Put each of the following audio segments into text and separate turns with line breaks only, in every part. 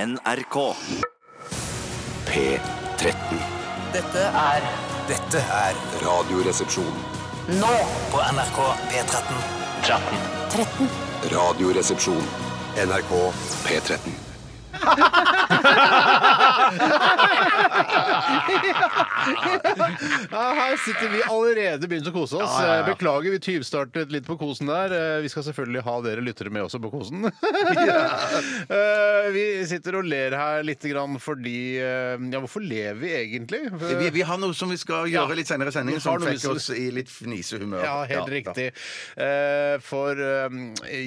NRK.
P13.
Dette er
Dette er
Radioresepsjon.
nå
på NRK P13.
Radioresepsjon. NRK P13.
Ja, her sitter vi allerede begynt å kose oss. Eh, Beklager, vi tyvstartet litt på kosen der. Eh, Vi skal selvfølgelig ha dere lyttere med også på kosen. Eh, vi sitter og ler her litt grann fordi eh, Ja, hvorfor ler vi egentlig?
Vi, vi har noe som vi skal gjøre litt senere i
Vi
sendingen,
har
som
noe vi
fikk
skal-
oss i litt fnisehumør.
Ja, helt riktig. Eh, For eh,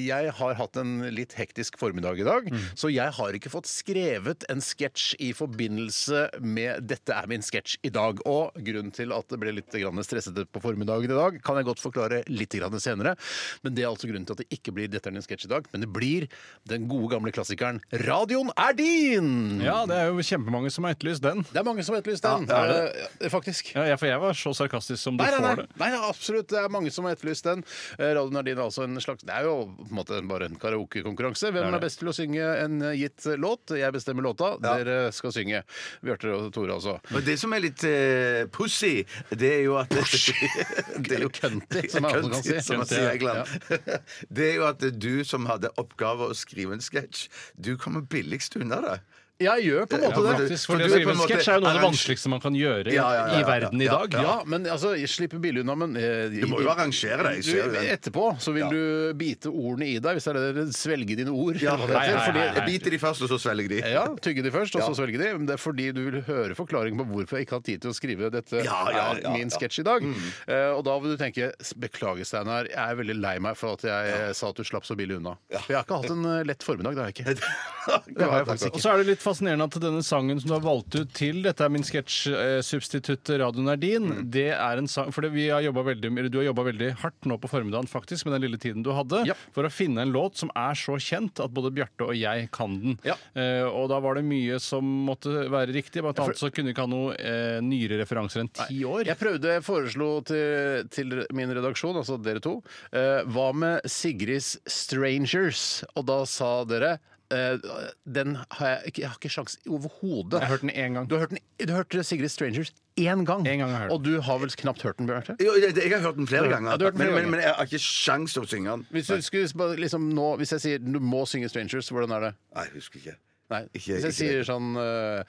jeg har hatt en litt hektisk formiddag i dag,
Mm.
så jeg har ikke fått skrevet en sketsj i forbindelse med 'Dette er min sketsj i dag'. Og grunnen til at det ble litt grann stressete på formiddagen i dag, kan jeg godt forklare litt grann senere. Men det er altså grunnen til at det ikke blir 'Dette er min sketsj i dag', men det blir den gode gamle klassikeren 'Radioen er din'!
Ja, det er jo kjempemange som har etterlyst den.
Det er mange som har etterlyst den,
Ja, det er
eh, faktisk.
Ja, jeg, for jeg var så sarkastisk som du
Nei, nei,
får
nei.
det.
nei, nei, absolutt. Det er mange som har etterlyst den. Eh, Radio Nardin er altså en slags Det er jo på en måte bare en karaokekonkurranse. Hvem
Det er
er,
det.
best til å synge en eh, gitt låt? Jeg bestemmer låta, dere skal synge. Bjarte og Tore, altså.
Og det som er litt eh, pussy, det er jo at Det
Eller kønti, som jeg også kan si.
Kønti, som man
Kønti,
sier
ja.
i England. Det er jo at du som hadde oppgave å skrive en sketsj, du kommer billigst unna det.
Jeg gjør på en
Ja,
måte det.
faktisk, for
For
det å
du er
skrive
på en
en
måte
sketsj er jo noe av det
arrange-
vanskeligste man kan gjøre
Ja, ja, ja,
i
ja,
verden i
ja,
dag.
Ja, men altså, jeg slipper billig unna, men eh,
Du må jo arrangere deg. jeg ser
du,
jo det.
etterpå så vil du bite ordene i deg, hvis det er det svelge dine ord.
Ja,
eller hva det heter,
nei, nei,
fordi-
nei,
Jeg biter de først, og så svelger de.
Ja, tygge de først, og så svelge de. Men det er fordi du vil høre forklaringen på hvorfor jeg ikke har tid til å skrive 'dette
Ja, ja, ja,
er min
ja.
sketsj i dag'. Eh, og da vil du tenke 'beklager, Steinar, jeg er veldig lei meg for at jeg eh, sa at du slapp så billig unna'. For jeg har ikke hatt en eh, lett formiddag, det har jeg ikke. Det har jeg faktisk
Og
ikke.
så er det litt fascinerende at denne sangen som du har valgt ut til dette er min sketsj-substitutt Radioen er din,
Mm.
det er en sang For det- vi har jobbet veldig, eller du har jobba veldig hardt nå på formiddagen faktisk med den lille tiden du hadde,
Ja.
for å finne en låt som er så kjent at både Bjarte og jeg kan den.
Ja.
Eh, og da var det mye som måtte være riktig. Blant annet så kunne vi ikke ha noe eh, nyere referanser enn ti år.
Jeg prøvde, jeg foreslo til, til min redaksjon, altså dere to, eh, hva med Sigrids 'Strangers'? Og da sa dere eh, den har jeg ikke, jeg har ikke sjans overhodet.
Jeg har hørt den én gang.
Du har hørt, den, du har hørt Sigrid Strangers én gang.
En gang har jeg hørt
og du har vel knapt hørt den, Bjarte?
Jo, jeg, jeg har hørt den flere
Ja,
ganger,
du har hørt den flere
men, men,
ganger.
men jeg har ikke sjans til å synge den.
Hvis, du skulle, bare liksom, nå, hvis jeg sier du må synge 'Strangers', hvordan er det?
Nei, jeg husker ikke.
Nei.
Ikke-
hvis jeg sier
ikke-
sånn eh,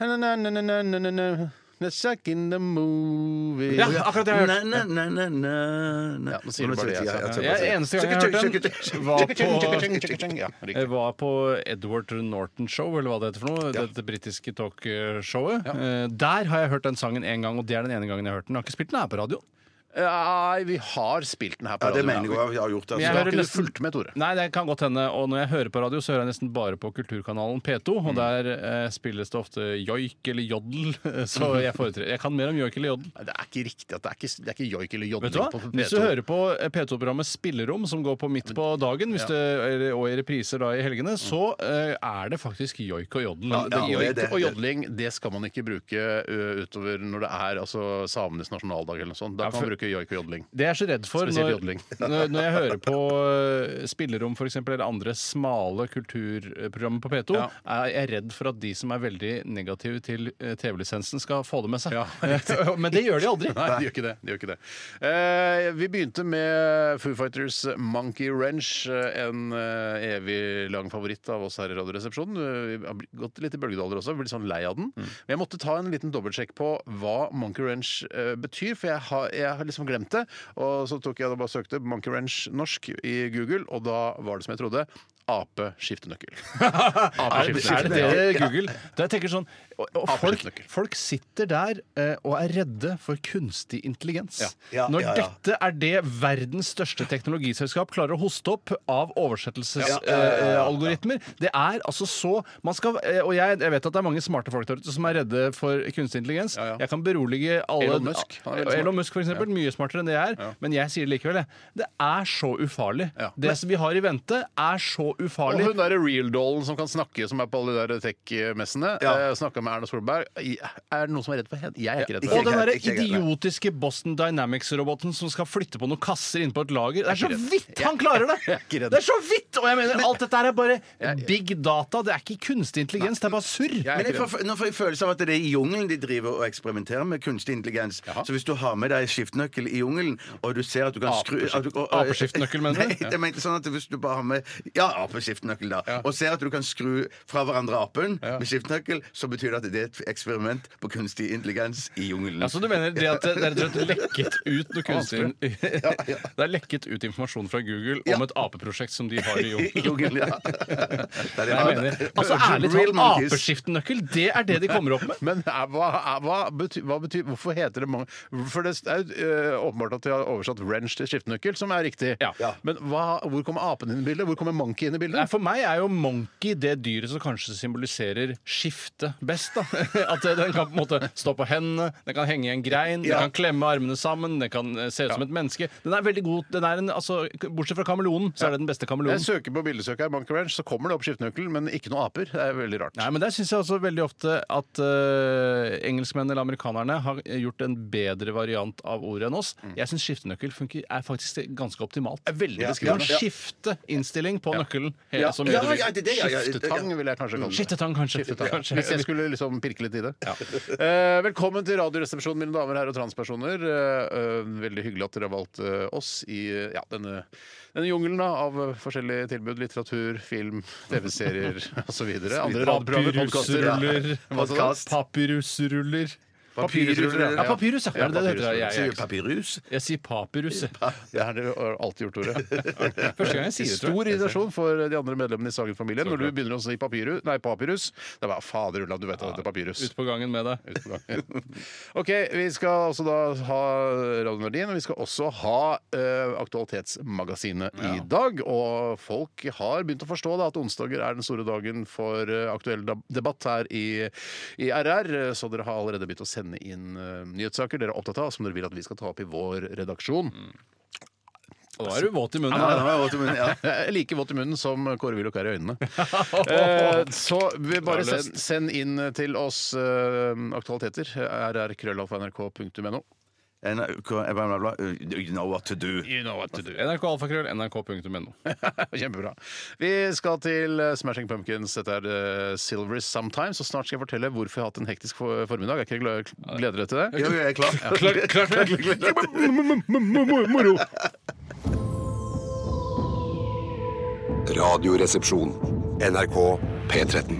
«Na-na-na-na-na-na-na-na, Let's check in the movie
Ja, akkurat det har jeg hørt.
Na, na, na, na, na.
Ja, nå sier du bare det altså? jeg sa.
Ja, ja,
Jeg, eneste gang jeg har hørt den, var på
Ja, riktig.
Jeg var på Edward Norton Show, eller hva det heter for noe. Dette britiske talkshowet. Eh, Der har jeg hørt den sangen én gang, og det er den ene gangen jeg har hørt den. Jeg har ikke spilt den her på radioen.
Nei, vi har spilt den her på
Ja, det
radioen.
mener jeg også, jeg har gjort det.
Men jeg
Da
altså.
har ikke
hører
du
nesten-
fulgt med, Tore.
Nei, det kan godt hende. Og når jeg hører på radio, så hører jeg nesten bare på kulturkanalen P2, og der eh, spilles det ofte joik eller jodel. Så jeg foretrekker Jeg kan mer om joik eller jodel.
Nei, Det er ikke riktig at det er ikke, det er ikke joik eller
Vet du hva?
jodling på
Hvis du
P2.
hører på eh, P2-programmet Spillerom, som går på midt på dagen, hvis det, eller- og i repriser da i helgene, så eh, er det faktisk joik og jodel.
Ja, ja,
Joik
det- det-
og jodling det skal man ikke bruke ø, utover når det er altså, samenes nasjonaldag eller noe sånt. Da
Ja,
kan
for-
man bruke joik og jodling.
Det jeg er så redd for
Spesielt
når,
jodling.
når, når jeg hører på eh, spillerom for eksempel, eller andre smale kulturprogrammer på P2,
Ja.
er jeg redd for at de som er veldig negative til eh, TV-lisensen, skal få det med seg. Men det gjør de aldri.
Nei, de gjør ikke det. De gjør ikke det. Eh, vi begynte med Foo Fighters Monkey Wrench, eh, en eh, evig lang favoritt av oss her i Radioresepsjonen. Eh, Vi har blitt- gått litt i bølgedaler også, vi blir sånn lei av den.
Mm.
Men jeg måtte ta en liten dobbeltsjekk på hva Monkey Wrench eh, betyr, for jeg har, jeg har liksom glemt det. Og så tok jeg og bare søkte Monkey Wrench norsk i Google, og da var det som jeg trodde. Ape skiftenøkkel. Ape
Er, er det det Google? Da jeg tenker sånn, og, og folk,
Absolutt.
folk sitter der eh, og er redde for kunstig intelligens.
Ja,
Når
ja, ja.
dette er det verdens største teknologiselskap klarer å hoste opp av oversettelsesalgoritmer Det er altså så man skal, eh, Og jeg, jeg vet at det er mange smarte folk der ute som er redde for kunstig intelligens.
Ja, ja.
Jeg kan berolige alle
Elon Musk, han er veldig smart.
Elon Musk for eksempel, Mye smartere enn det jeg er. Men jeg sier det likevel. jeg. Det er så ufarlig.
Ja.
Det som vi har i vente, er så så
Og
ufarlig.
hun derre real-dollen som kan snakke, som er på alle de der tech-messene.
Ja.
eh, Snakka med Erna Solberg. I- Er det noen som er redd for henne? Jeg er ikke redd for
Ja,
henne.
Og den
jeg-
derre
ikke jeg-
idiotiske Boston Dynamics-roboten som skal flytte på noen kasser inne på et lager. Det er så
ikke redd.
vidt han klarer det!
Jeg er ikke redd.
Det er så vidt! Og jeg mener, alt dette her er bare big data. Det er ikke kunstig intelligens, det er bare surr.
Jeg er
Men jeg
ikke redd.
får, nå får jeg følelse av at det er i jungelen de driver og eksperimenterer med kunstig intelligens. Så hvis du har med deg skiftenøkkel i jungelen, og du ser at du kan skru at du- og- og-
Apeskiftenøkkel, mener du?
Nei, jeg mente sånn at hvis du bare har med Ja, apeskiftenøkkel, da. Og ser at du kan skru fra hverandre apen med skiftenøkkel, så betyr det at det er et eksperiment på kunstig intelligens i jungelen.
Ja, så du mener det at det det er rett og slett lekket ut noe kunstig
ja.
Det er lekket ut informasjon fra Google
Ja.
om et apeprosjekt som de har i
I
jungelen.
jungelen, ja. Der de
Jeg
har det.
mener, altså Ærlig
Real
talt,
monkeys.
apeskiftenøkkel, det er det de kommer opp med.
Men er, hva, er, hva, bety, hva betyr Hvorfor heter det mange For det er jo eh, åpenbart at de har oversatt wrench til skiftenøkkel, som er riktig.
Ja. Ja.
Men hva, hvor kommer apen inn i bildet? Hvor kommer monkey inn i
Nei,
bildet?
for meg er jo monkey det dyret som kanskje symboliserer skifte best. da. At den kan på en måte stå på hendene, den kan henge i en grein,
Ja.
den kan klemme armene sammen, den kan eh, se ut som et menneske. Den er veldig god. Den er en, altså, bortsett fra kameleonen, så er det den beste
Jeg
kameleonen.
søker på bildesøker monkey wrench, så kommer det opp skiftenøkkelen, men ikke noe aper. Det er veldig rart.
Nei, men Der syns jeg også veldig ofte at eh, engelskmennene eller amerikanerne har eh, gjort en bedre variant av ordet enn oss. Jeg syns skiftenøkkel funker, er faktisk ganske optimalt.
Det er veldig
Du kan
beskrivende.
skifte innstilling på nøkkelen. hele-
Ja.
som
Ja,
gjør det-
ja, det- det- ja, ja, det- ja.
Skiftetang vil jeg kanskje kalle det.
Skiftetang, kanskje. Kanskje.
Hvis jeg skulle liksom pirke litt i det. Eh, velkommen til Radioresepsjonen, mine damer og herrer og transpersoner. Eh, eh, veldig hyggelig at dere har valgt eh, oss i eh, ja, denne, denne jungelen da, av eh, forskjellige tilbud. Litteratur, film, TV-serier osv. Andre radioprogrammer, podkaster.
Papyrusruller.
Hva sa du?
Podcast.
Papyrusruller.
Papyrusruller,
Ja, papyrus, ja.
Ja,
Er det det det heter?
papyrusruller.
Ja,
Sier
jeg,
du papirus?
jeg sier papyrus. jeg.
Det har dere alltid gjort, Tore.
Første gang jeg sier det, tror jeg.
Stor irritasjon for de andre medlemmene i Sagen-familien når du begynner å si papiru, nei, papyrus. Det er bare fader ulla, du vet at det er papyrus.
Ute på gangen med deg.
Ut på gangen. OK, vi skal altså da ha Radio Nardin, og vi skal også ha eh, Aktualitetsmagasinet i dag. Og folk har begynt å forstå da, at onsdager er den store dagen for eh, aktuell da- debatt her i, i RR. eh, Så dere har allerede begynt å sende inn eh, nyhetssaker dere er opptatt av, som dere vil at vi skal ta opp i vår redaksjon.
Nå er du våt i munnen.
Ja, det var våt i munnen, ja.
Jeg er like våt i munnen som Kåre Willoch er i øynene. Eh, Så vi bare
Bra
send, send inn til oss eh, aktualiteter. rrkrøllalfa.nrk.no.
NRK, bla, bla, bla. You know what to do.
You know what to do.
NRK alfakrøll, nrk.no.
Kjempebra. Vi skal til eh, Smashing Pumpkins. Dette er eh, Silver is Sometimes. Og snart skal jeg fortelle hvorfor jeg har hatt en hektisk for- formiddag. Er ikke dere glad- Gleder dere til det?
Jo, jo, jeg er klar.
Moro!
Radioresepsjon. NRK P13.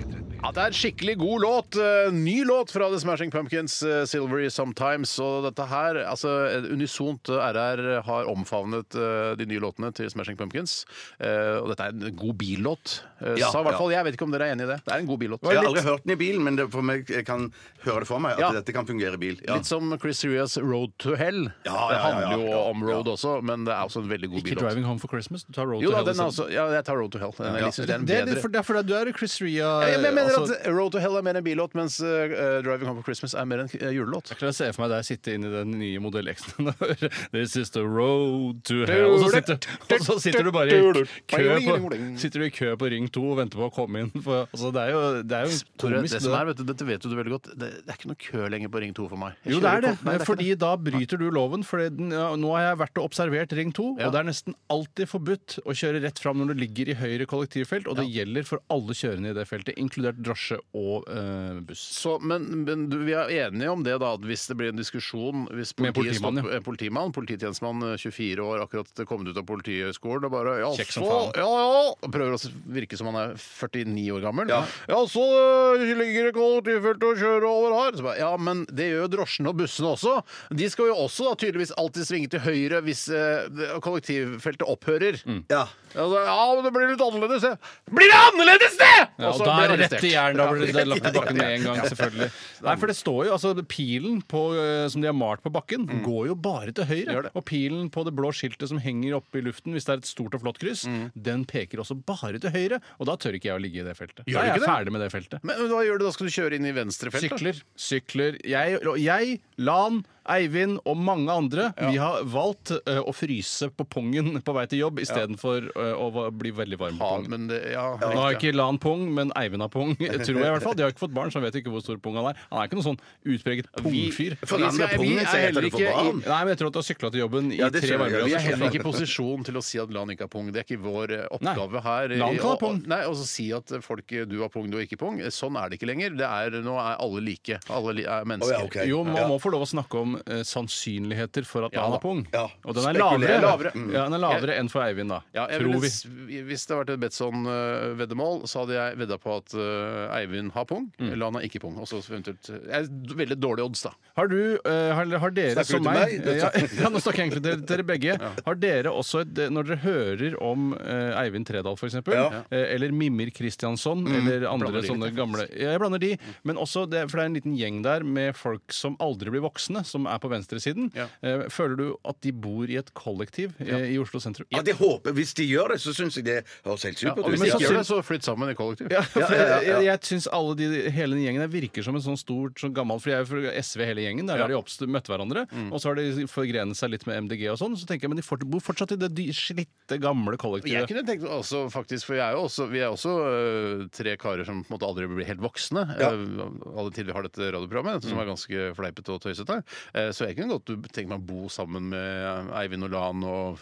Ja, Det er en skikkelig god låt. Eh, Ny låt fra The Smashing Pumpkins, eh, 'Silvery Sometimes'. Og dette her, altså eh, Unisont eh, RR har omfavnet eh, de nye låtene til Smashing Pumpkins. Eh, Og dette er en god billåt. Eh,
Ja,
Sa i hvert
ja.
fall jeg. Vet ikke om dere er enig i det. Det er en god billåt. altså,
Jeg har aldri hørt den i bilen, men det for meg, jeg kan høre det for meg at
Ja.
dette kan fungere i bil. Ja.
Litt som Chris Serious 'Road to Hell'.
Ja, ja,
det
ja, ja.
handler jo
Ja.
om road også, men det er også en veldig god
Ikke
billåt.
Driving Home for Christmas. Du tar Road
Jo
to
da,
Hell.
den er også, ja, jeg tar 'Road to Hell'. Den, jeg synes det er en
det er
bedre.
for, det er fordi du er Chris Ria.
Ja, Jeg mener
altså-
at 'Road to Hell' er mer en billåt, mens eh, 'Driving Home for Christmas' er mer en eh, julelåt.
Jeg klarer å se for meg deg sitte inn i den nye Modell X-en og høre This is the road to hell. Og så sitter, og så sitter du bare i kø på, sitter du i kø på Ring 2 og venter på å komme inn. For, altså, det er jo, det er jo
Tore,
komisk.
det som er, vet du, dette vet du veldig godt, det, det er ikke noe kø lenger på Ring 2 for meg. Jeg
jo, det
kjører
er det.
kort- Nei,
Fordi
ikke
da bryter du loven. For nå har jeg vært og observert Ring 2,
Ja.
og det er nesten alltid forbudt å kjøre rett fram når du ligger i høyre kollektivfelt, og det gjelder for alle kjørende i det feltet, inkludert drosje og eh, buss.
det. Så, men men du, vi er enige om det, da, at hvis det blir en diskusjon hvis
Med
politiet
politimannen,
stopper- en politimann, polititjenestemann eh, 24 år, akkurat kommet ut av Politihøgskolen og bare ja,
Kjekk som
så-
faen.
ja, ja, og prøver å s- virke som han er 49 år gammel. Ja,
Ja.
så eh, ligger det kollektivfelt og kjører over her. Så bare, ja, men det gjør jo drosjene og bussene også. De skal jo også da tydeligvis alltid svinge til høyre hvis eh, kollektivfeltet opphører.
Mm.
Ja.
Ja, så, ja, men det blir litt annerledes, det. Blir det annerledes, det?!
Ja, og
så
da
ble
er
han
det rett i
arrestert.
jern. Da blir det lagt i bakken med en gang, selvfølgelig. Nei, for det står jo, altså Pilen på, eh, som de har malt på bakken, går jo bare til høyre. Og pilen på det blå skiltet som henger oppe i luften hvis det er et stort og flott kryss, den peker også bare til høyre. Og da tør ikke jeg å ligge i det feltet.
Gjør
Da
du
er
ikke
jeg
det?
ferdig med det feltet.
Men hva gjør du da? Skal du kjøre inn i venstrefeltet?
Sykler, sykler. Jeg, jeg LAN, Eivind og mange andre, vi har valgt eh, å fryse på pongen på vei til jobb istedenfor eh, å va- bli veldig varm på
Ja,
pongen.
men det, ja,
Nå har
riktig.
ikke Lan Pung, men Eivind har pung, tror jeg i hvert fall. De har ikke fått barn, så jeg vet ikke hvor stor pung han er. Han er ikke noen sånn utpreget pungfyr.
For
Vi skal-
andre
vi
pungen
er
så heter det
heller
for
ikke i-
barn.
Nei, men jeg tror at du har sykla til jobben i
Ja, det tror
tre
jeg.
varmegrader.
Vi er
Ja,
heller ikke i posisjon til å si at Lan ikke har pung. Det er ikke vår eh, oppgave her.
Lan kan ha
Og- og-
pung.
Nei, Og så si at folk eh, du har pung, du har ikke pung. Sånn er det ikke lenger. Det er, nå er alle like. Alle li er mennesker.
Å, ja, ok.
Jo, man må få lov å snakke om eh, sannsynligheter for at
Ja,
Lan
da.
har pung.
Ja. Mm.
Og den er lavere,
Spekulerer.
Lavere.
Ja, den er lavere enn for Eivind, da.
Ja, jeg
tror
ville,
vi.
s- hvis det hadde vært et Betson-veddemål, så hadde jeg vedda på at eh, Eivind har pung, Lan har ikke pung. Og så eventuelt eh, er d- Veldig dårlige odds, da.
Har du, eh, har, har dere
Snakker du
som
til
meg,
meg?
Ja, ja, nå snakker jeg egentlig til dere begge. Har dere også, et, eh, når dere hører om eh, Eivind Tredal f.eks., eksempel
Ja. Mm.
eh, eller Mimir Kristiansson, eller andre
de
sånne gamle Ja, Jeg blander de, men også det, for det er en liten gjeng der med folk som aldri blir voksne, som er på venstresiden.
Ja.
Eh, føler du at de bor i et kollektiv eh, i Oslo sentrum?
Ja, det håper jeg. Hvis de gjør det, så syns jeg det høres helt
Ja,
supert
og
ut.
hvis
men
de
så
ikke gjør
syns-
det, så flytt sammen i kollektiv.
Ja, for
ja, ja, ja.
Jeg, jeg syns alle de, hele den gjengen der virker som en sånn stort, sånn gammel For jeg er jo fra SV hele gjengen. Der har de oppst- møtt hverandre. Og så har de forgrenet seg litt med MDG og sånn. Så tenker jeg, men de fort, bor fortsatt i det dy- slitte, gamle
Jeg
kollektivet.
kunne tenkt også, faktisk, for jeg er jo også, vi er også øh, tre karer som på en måte aldri blir helt voksne.
Ja.
øh, Alle til vi har dette radioprogrammet, som er ganske fleipete og tøysete. Eh, Så jeg kunne godt tenkt meg å bo sammen med Eivind og Lan og,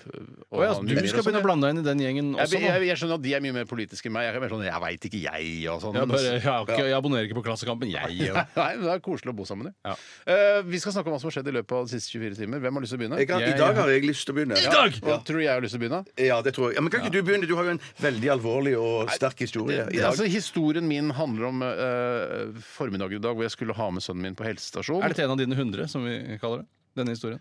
og
Å ja,
han
du
Mimir
skal
og sånn,
begynne å
ja.
blande deg inn i den gjengen
jeg,
også
jeg, jeg,
nå?
skjønner at de er mye mer politiske enn meg. Jeg er mer sånn 'jeg veit ikke, jeg' og sånn.
Jeg, bare, jeg, har ikke, jeg abonnerer ikke på Klassekampen, jeg. jo.
Nei, men Det er koselig å bo sammen. Ja.
Ja.
Eh, vi skal snakke om hva som har skjedd i løpet av de siste 24 timer. Hvem har lyst til å begynne?
Jeg kan,
Ja,
I dag
ja.
har jeg lyst til å begynne.
Ja. Hva tror du jeg har lyst til å begynne?
Ja, det tror jeg. Ja, men kan ikke du begynne? Du har jo en veldig alvorlig og sterk historie i dag.
Altså, historien min handler om eh, formiddagen i dag hvor jeg skulle ha med sønnen min på helsestasjon.
Er dette en av dine hundre, som vi kaller det? Denne historien?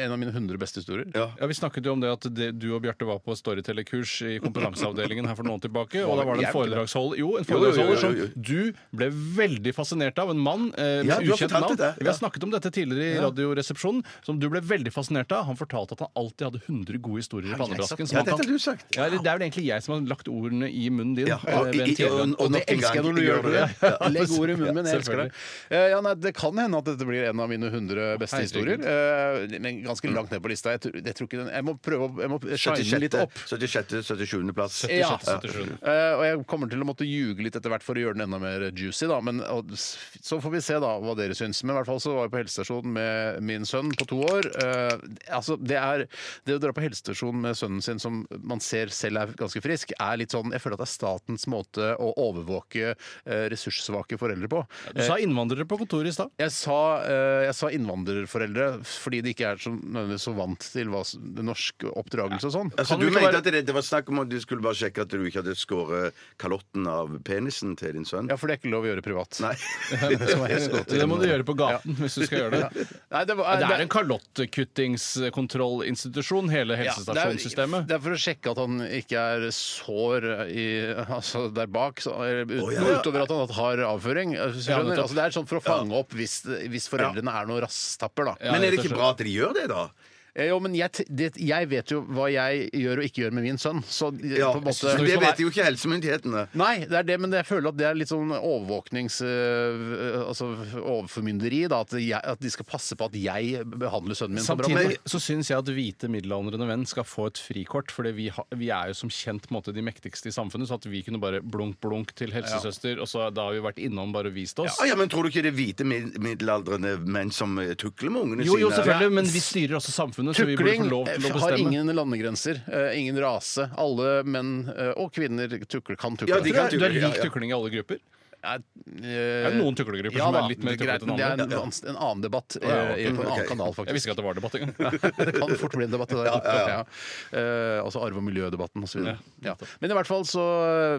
En av mine 100 beste historier.
Ja.
Ja, Vi snakket jo om det at det, du og Bjarte var på storytellerkurs i kompetanseavdelingen her for noen år tilbake. Og da var det en
Jeg-
foredragsholder Jo,
Jo, jo, jo,
en
jo,
foredragsholder som
jo,
du ble veldig fascinert av. En mann. Eh,
Ja,
med
du har
ukjent
fortalt
navn.
det, ja.
Vi har snakket om dette tidligere i Radioresepsjonen. Som du ble veldig fascinert av. Han fortalte at han alltid hadde 100 gode historier i pannebrasken. som
Ja,
han kan-
dette har du sagt.
Ja, eller det er vel egentlig jeg som har lagt ordene i munnen din.
Ja,
eh,
og-
ved en
i- i-
tidligere-
og-
Og det
nok en
elsker jeg
gang
når du gjør det!
Ja,
Legg ordet i munnen min. Jeg elsker det.
selvfølgelig.
Eh, Ja, nei, det kan hende at dette blir en av mine 100 beste
Herregud.
historier. eh, Men ganske langt ned på lista. Jeg, tror, jeg, tror ikke den, jeg må prøve å jeg må shine den litt opp.
76. 77. plass.
Ja.
77.
Eh, og jeg kommer til å måtte ljuge litt etter hvert for å gjøre den enda mer juicy, da. Men og, s- så får vi se da hva dere syns. Men i hvert fall så var jeg på helsestasjonen med min sønn på to år. Eh, altså, det er Det å dra på helsestasjon med sønnen sin som man ser selv er ganske frisk, er litt sånn Jeg føler at det er statens måte å overvåke eh, ressurssvake foreldre på.
Du sa innvandrere på kontoret i stad.
Jeg sa, eh, jeg sa innvandrerforeldre fordi de ikke er så, nødvendigvis så vant til hva, s- det norske oppdragelse og sånn.
Altså,
Kan
du
vi ikke
mente
bare-
at det, det var snakk om at du skulle bare sjekke at du ikke hadde skåret kalotten av penisen til din sønn?
Ja, for det er ikke lov å gjøre privat.
Nei.
Det må du gjøre på gaten hvis du skal gjøre det.
Nei, det, var-
Ja, det
det-
er en kalottkuttingskontrollinstitusjon, hele
Ja, det er-
helsestasjonssystemet.
Det er for å sjekke at han ikke er sår i, altså der bak, så, eller ut,
Å, ja.
utover at han har avføring. Hvis du
Ja,
skjønner.
nettopp.
altså, det er sånn for å fange opp hvis, hvis foreldrene er noen rasstapper, da.
Ja.
Men er det
rett og
ikke bra at de gjør det, da?
Eh, Jo, men jeg, t- det, jeg vet jo hva jeg gjør og ikke gjør med min sønn, så eh,
Ja,
på en måte
Men det vet jo ikke helsemyndighetene.
Nei, det er det, men jeg føler at det er litt sånn overvåknings... øh, altså overformynderi, da. At, jeg, at de skal passe på at jeg behandler sønnen min på bra
Samtidig
måte.
så syns jeg at hvite middelaldrende menn skal få et frikort. For vi, har- vi er jo som kjent på en måte, de mektigste i samfunnet, så at vi kunne bare blunk, blunk til helsesøster, og så da har vi vært innom bare og vist oss.
Ah, ja, men Tror du ikke det er hvite mid middelaldrende menn som eh, tukler med ungene
Jo, jo,
sine?
selvfølgelig, men vi styrer også samfunnet, så vi burde få
Tukling
lov til å
eh, har
bestemme.
ingen landegrenser, eh, ingen rase. Alle menn eh, og kvinner tukler, kan tukle.
Ja,
Du
de
er,
kan
du er
tukle, ja,
lik
ja.
tukling i alle grupper?
er
det noen tuklegrupper som er litt mer tuklete enn
Eh, Det er
andre?
en, ans- en annen debatt eh,
ja, ok.
på en annen
Ok.
kanal,
Jeg visste
faktisk.
ikke at det var debatt engang.
det kan fort bli en debatt i dag. Ja. Eh, altså arv- og miljødebatten osv.
Ja.
Ja. Men i hvert fall så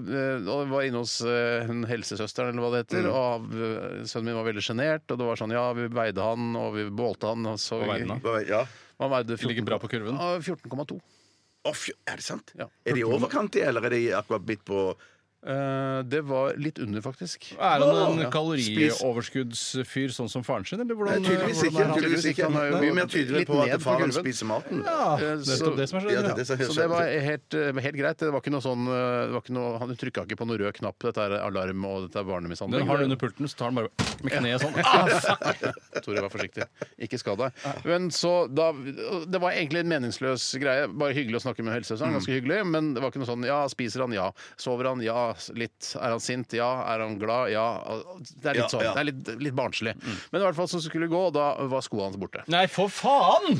eh, og jeg var inne hos eh, hun helsesøsteren, eller hva det heter,
Mm.
og eh, sønnen min var veldig sjenert. Og det var sånn ja, vi veide han, og vi bålte han, og så
Hva veide han da?
Hva- Ja.
Han veide 14,
Ligger bra på kurven.
Ja, 14,2.
Å, fy- er det sant?
Ja.
Er de i overkant, de, eller er de akkurat bitt på
Eh, det var litt under, faktisk.
Er han en
Ja.
kalorioverskuddsfyr sånn som faren sin, eller hvordan?
Nei, tydeligvis
hvordan
ikke.
er han?
Tydeligvis ikke. Han er jo mye mer tydelig
Litt
på
ned
at
på
faren
gulvet.
spiser maten.
Ja,
Eh,
det er
så-
nettopp det som er så
Ja, det
redd.
er det som
Så det var helt, eh, helt greit. Det var ikke noe sånn eh, det var ikke noe, Han trykka ikke på noen rød knapp. Dette er alarm, og dette er barnemishandling.
Den har du under pulten, så tar den bare med kneet sånn. Ah, fuck!
Tore, vær forsiktig. Ikke skad deg. Men så da, Det var egentlig en meningsløs greie. Bare hyggelig å snakke med helsesøsteren. Ganske hyggelig. Men det var ikke noe sånn Ja, spiser han? Ja. Sover han? Ja. Litt. Er han sint? Ja. Er han glad? Ja. Det er
Ja,
litt sånn.
ja.
Det er litt, litt barnslig. Men i hvert fall så skulle det gå, og da var skoene hans borte.
Nei, for faen!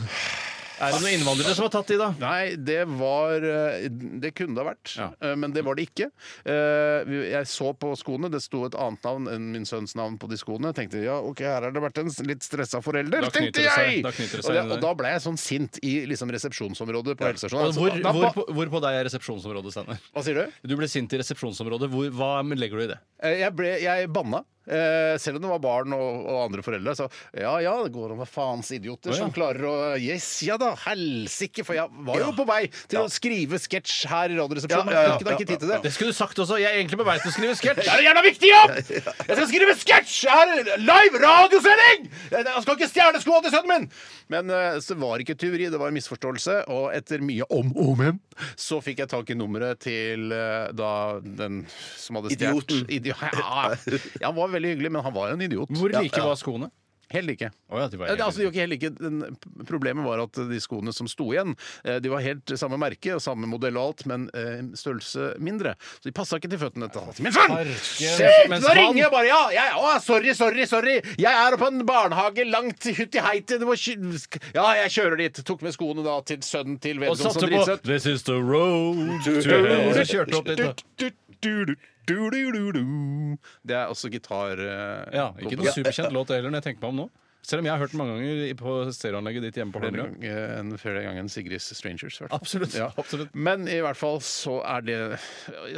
Er det noen innvandrere som har tatt de, da?
Nei, det var eh, Det kunne det ha vært,
Ja.
eh, men det var det ikke. Eh, vi- Jeg så på skoene, det sto et annet navn enn min sønns navn på de skoene. Tenkte ja, ok, her har det vært en s- litt stressa forelder,
Da
tenkte
knyter det seg-
jeg!
da knyter det
og,
seg
jeg,
inn i
og
det.
da ble jeg sånn sint i liksom resepsjonsområdet på helsestasjonen.
Og
Altså,
hvor,
da-
hvor,
hva,
på, hvor på deg er resepsjonsområdet, Steinar?
hva sier du?
Du ble sint i resepsjonsområdet. Hvor, hva legger du i det?
Eh, Jeg, ble, jeg banna. Eh, selv om det var barn og, og andre foreldre. Så ja ja, det går an å være faens idioter
Å, ja.
som klarer å Yes, ja da, helsike! For jeg var jo på vei til å skrive sketsj her i Radioresepsjonen.
Ja, ja, ja,
Fikk da ikke tid til det.
Det skulle du sagt også. Jeg er egentlig på vei til å skrive sketsj.
Det er en jævla viktig jobb! Jeg skal skrive sketsj! Jeg har live radiosending! Jeg skal ikke stjele skoa til sønnen min! Men eh, så var det ikke tyveri, det var en misforståelse. Og etter mye om og men, så fikk jeg tak i nummeret til eh, da den som hadde stjålet
Idioten.
Idi ja, han var veldig hyggelig, men han var en idiot.
Hvor like var skoene?
Helt ikke.
Å ja, de var
Ja, det- Altså, de var
helt-
ikke helt like. Den- Problemet var at eh, de skoene som sto igjen, eh, de var helt samme merke og samme modell og alt, men eh, størrelse mindre. Så de passa ikke til føttene til han. Min sønn!
Herregud.
Shit!
Mens
Nå
han-
ringer jeg bare! Ja! Jeg, å, sorry, sorry, sorry! Jeg er på en barnehage langt til hutt i heite. Det må kjø- Ja, jeg kjører dit. Tok med skoene da til sønnen til
Og
Vedum
satte
som
på
dritsøt.
This is the road to hell. Så kjørte opp litt, da.
Du-du-du-du-du-du-du. Det er også gitar... eh,
Ja, ikke noe superkjent låt heller, når jeg tenker meg om nå. Selv om jeg har hørt den mange ganger i- på stereoanlegget ditt hjemme på
flere
Holmlia.
ganger enn eh, flere ganger enn Sigrids Strangers. i hvert fall.
Absolutt, absolutt.
Men i hvert fall så er det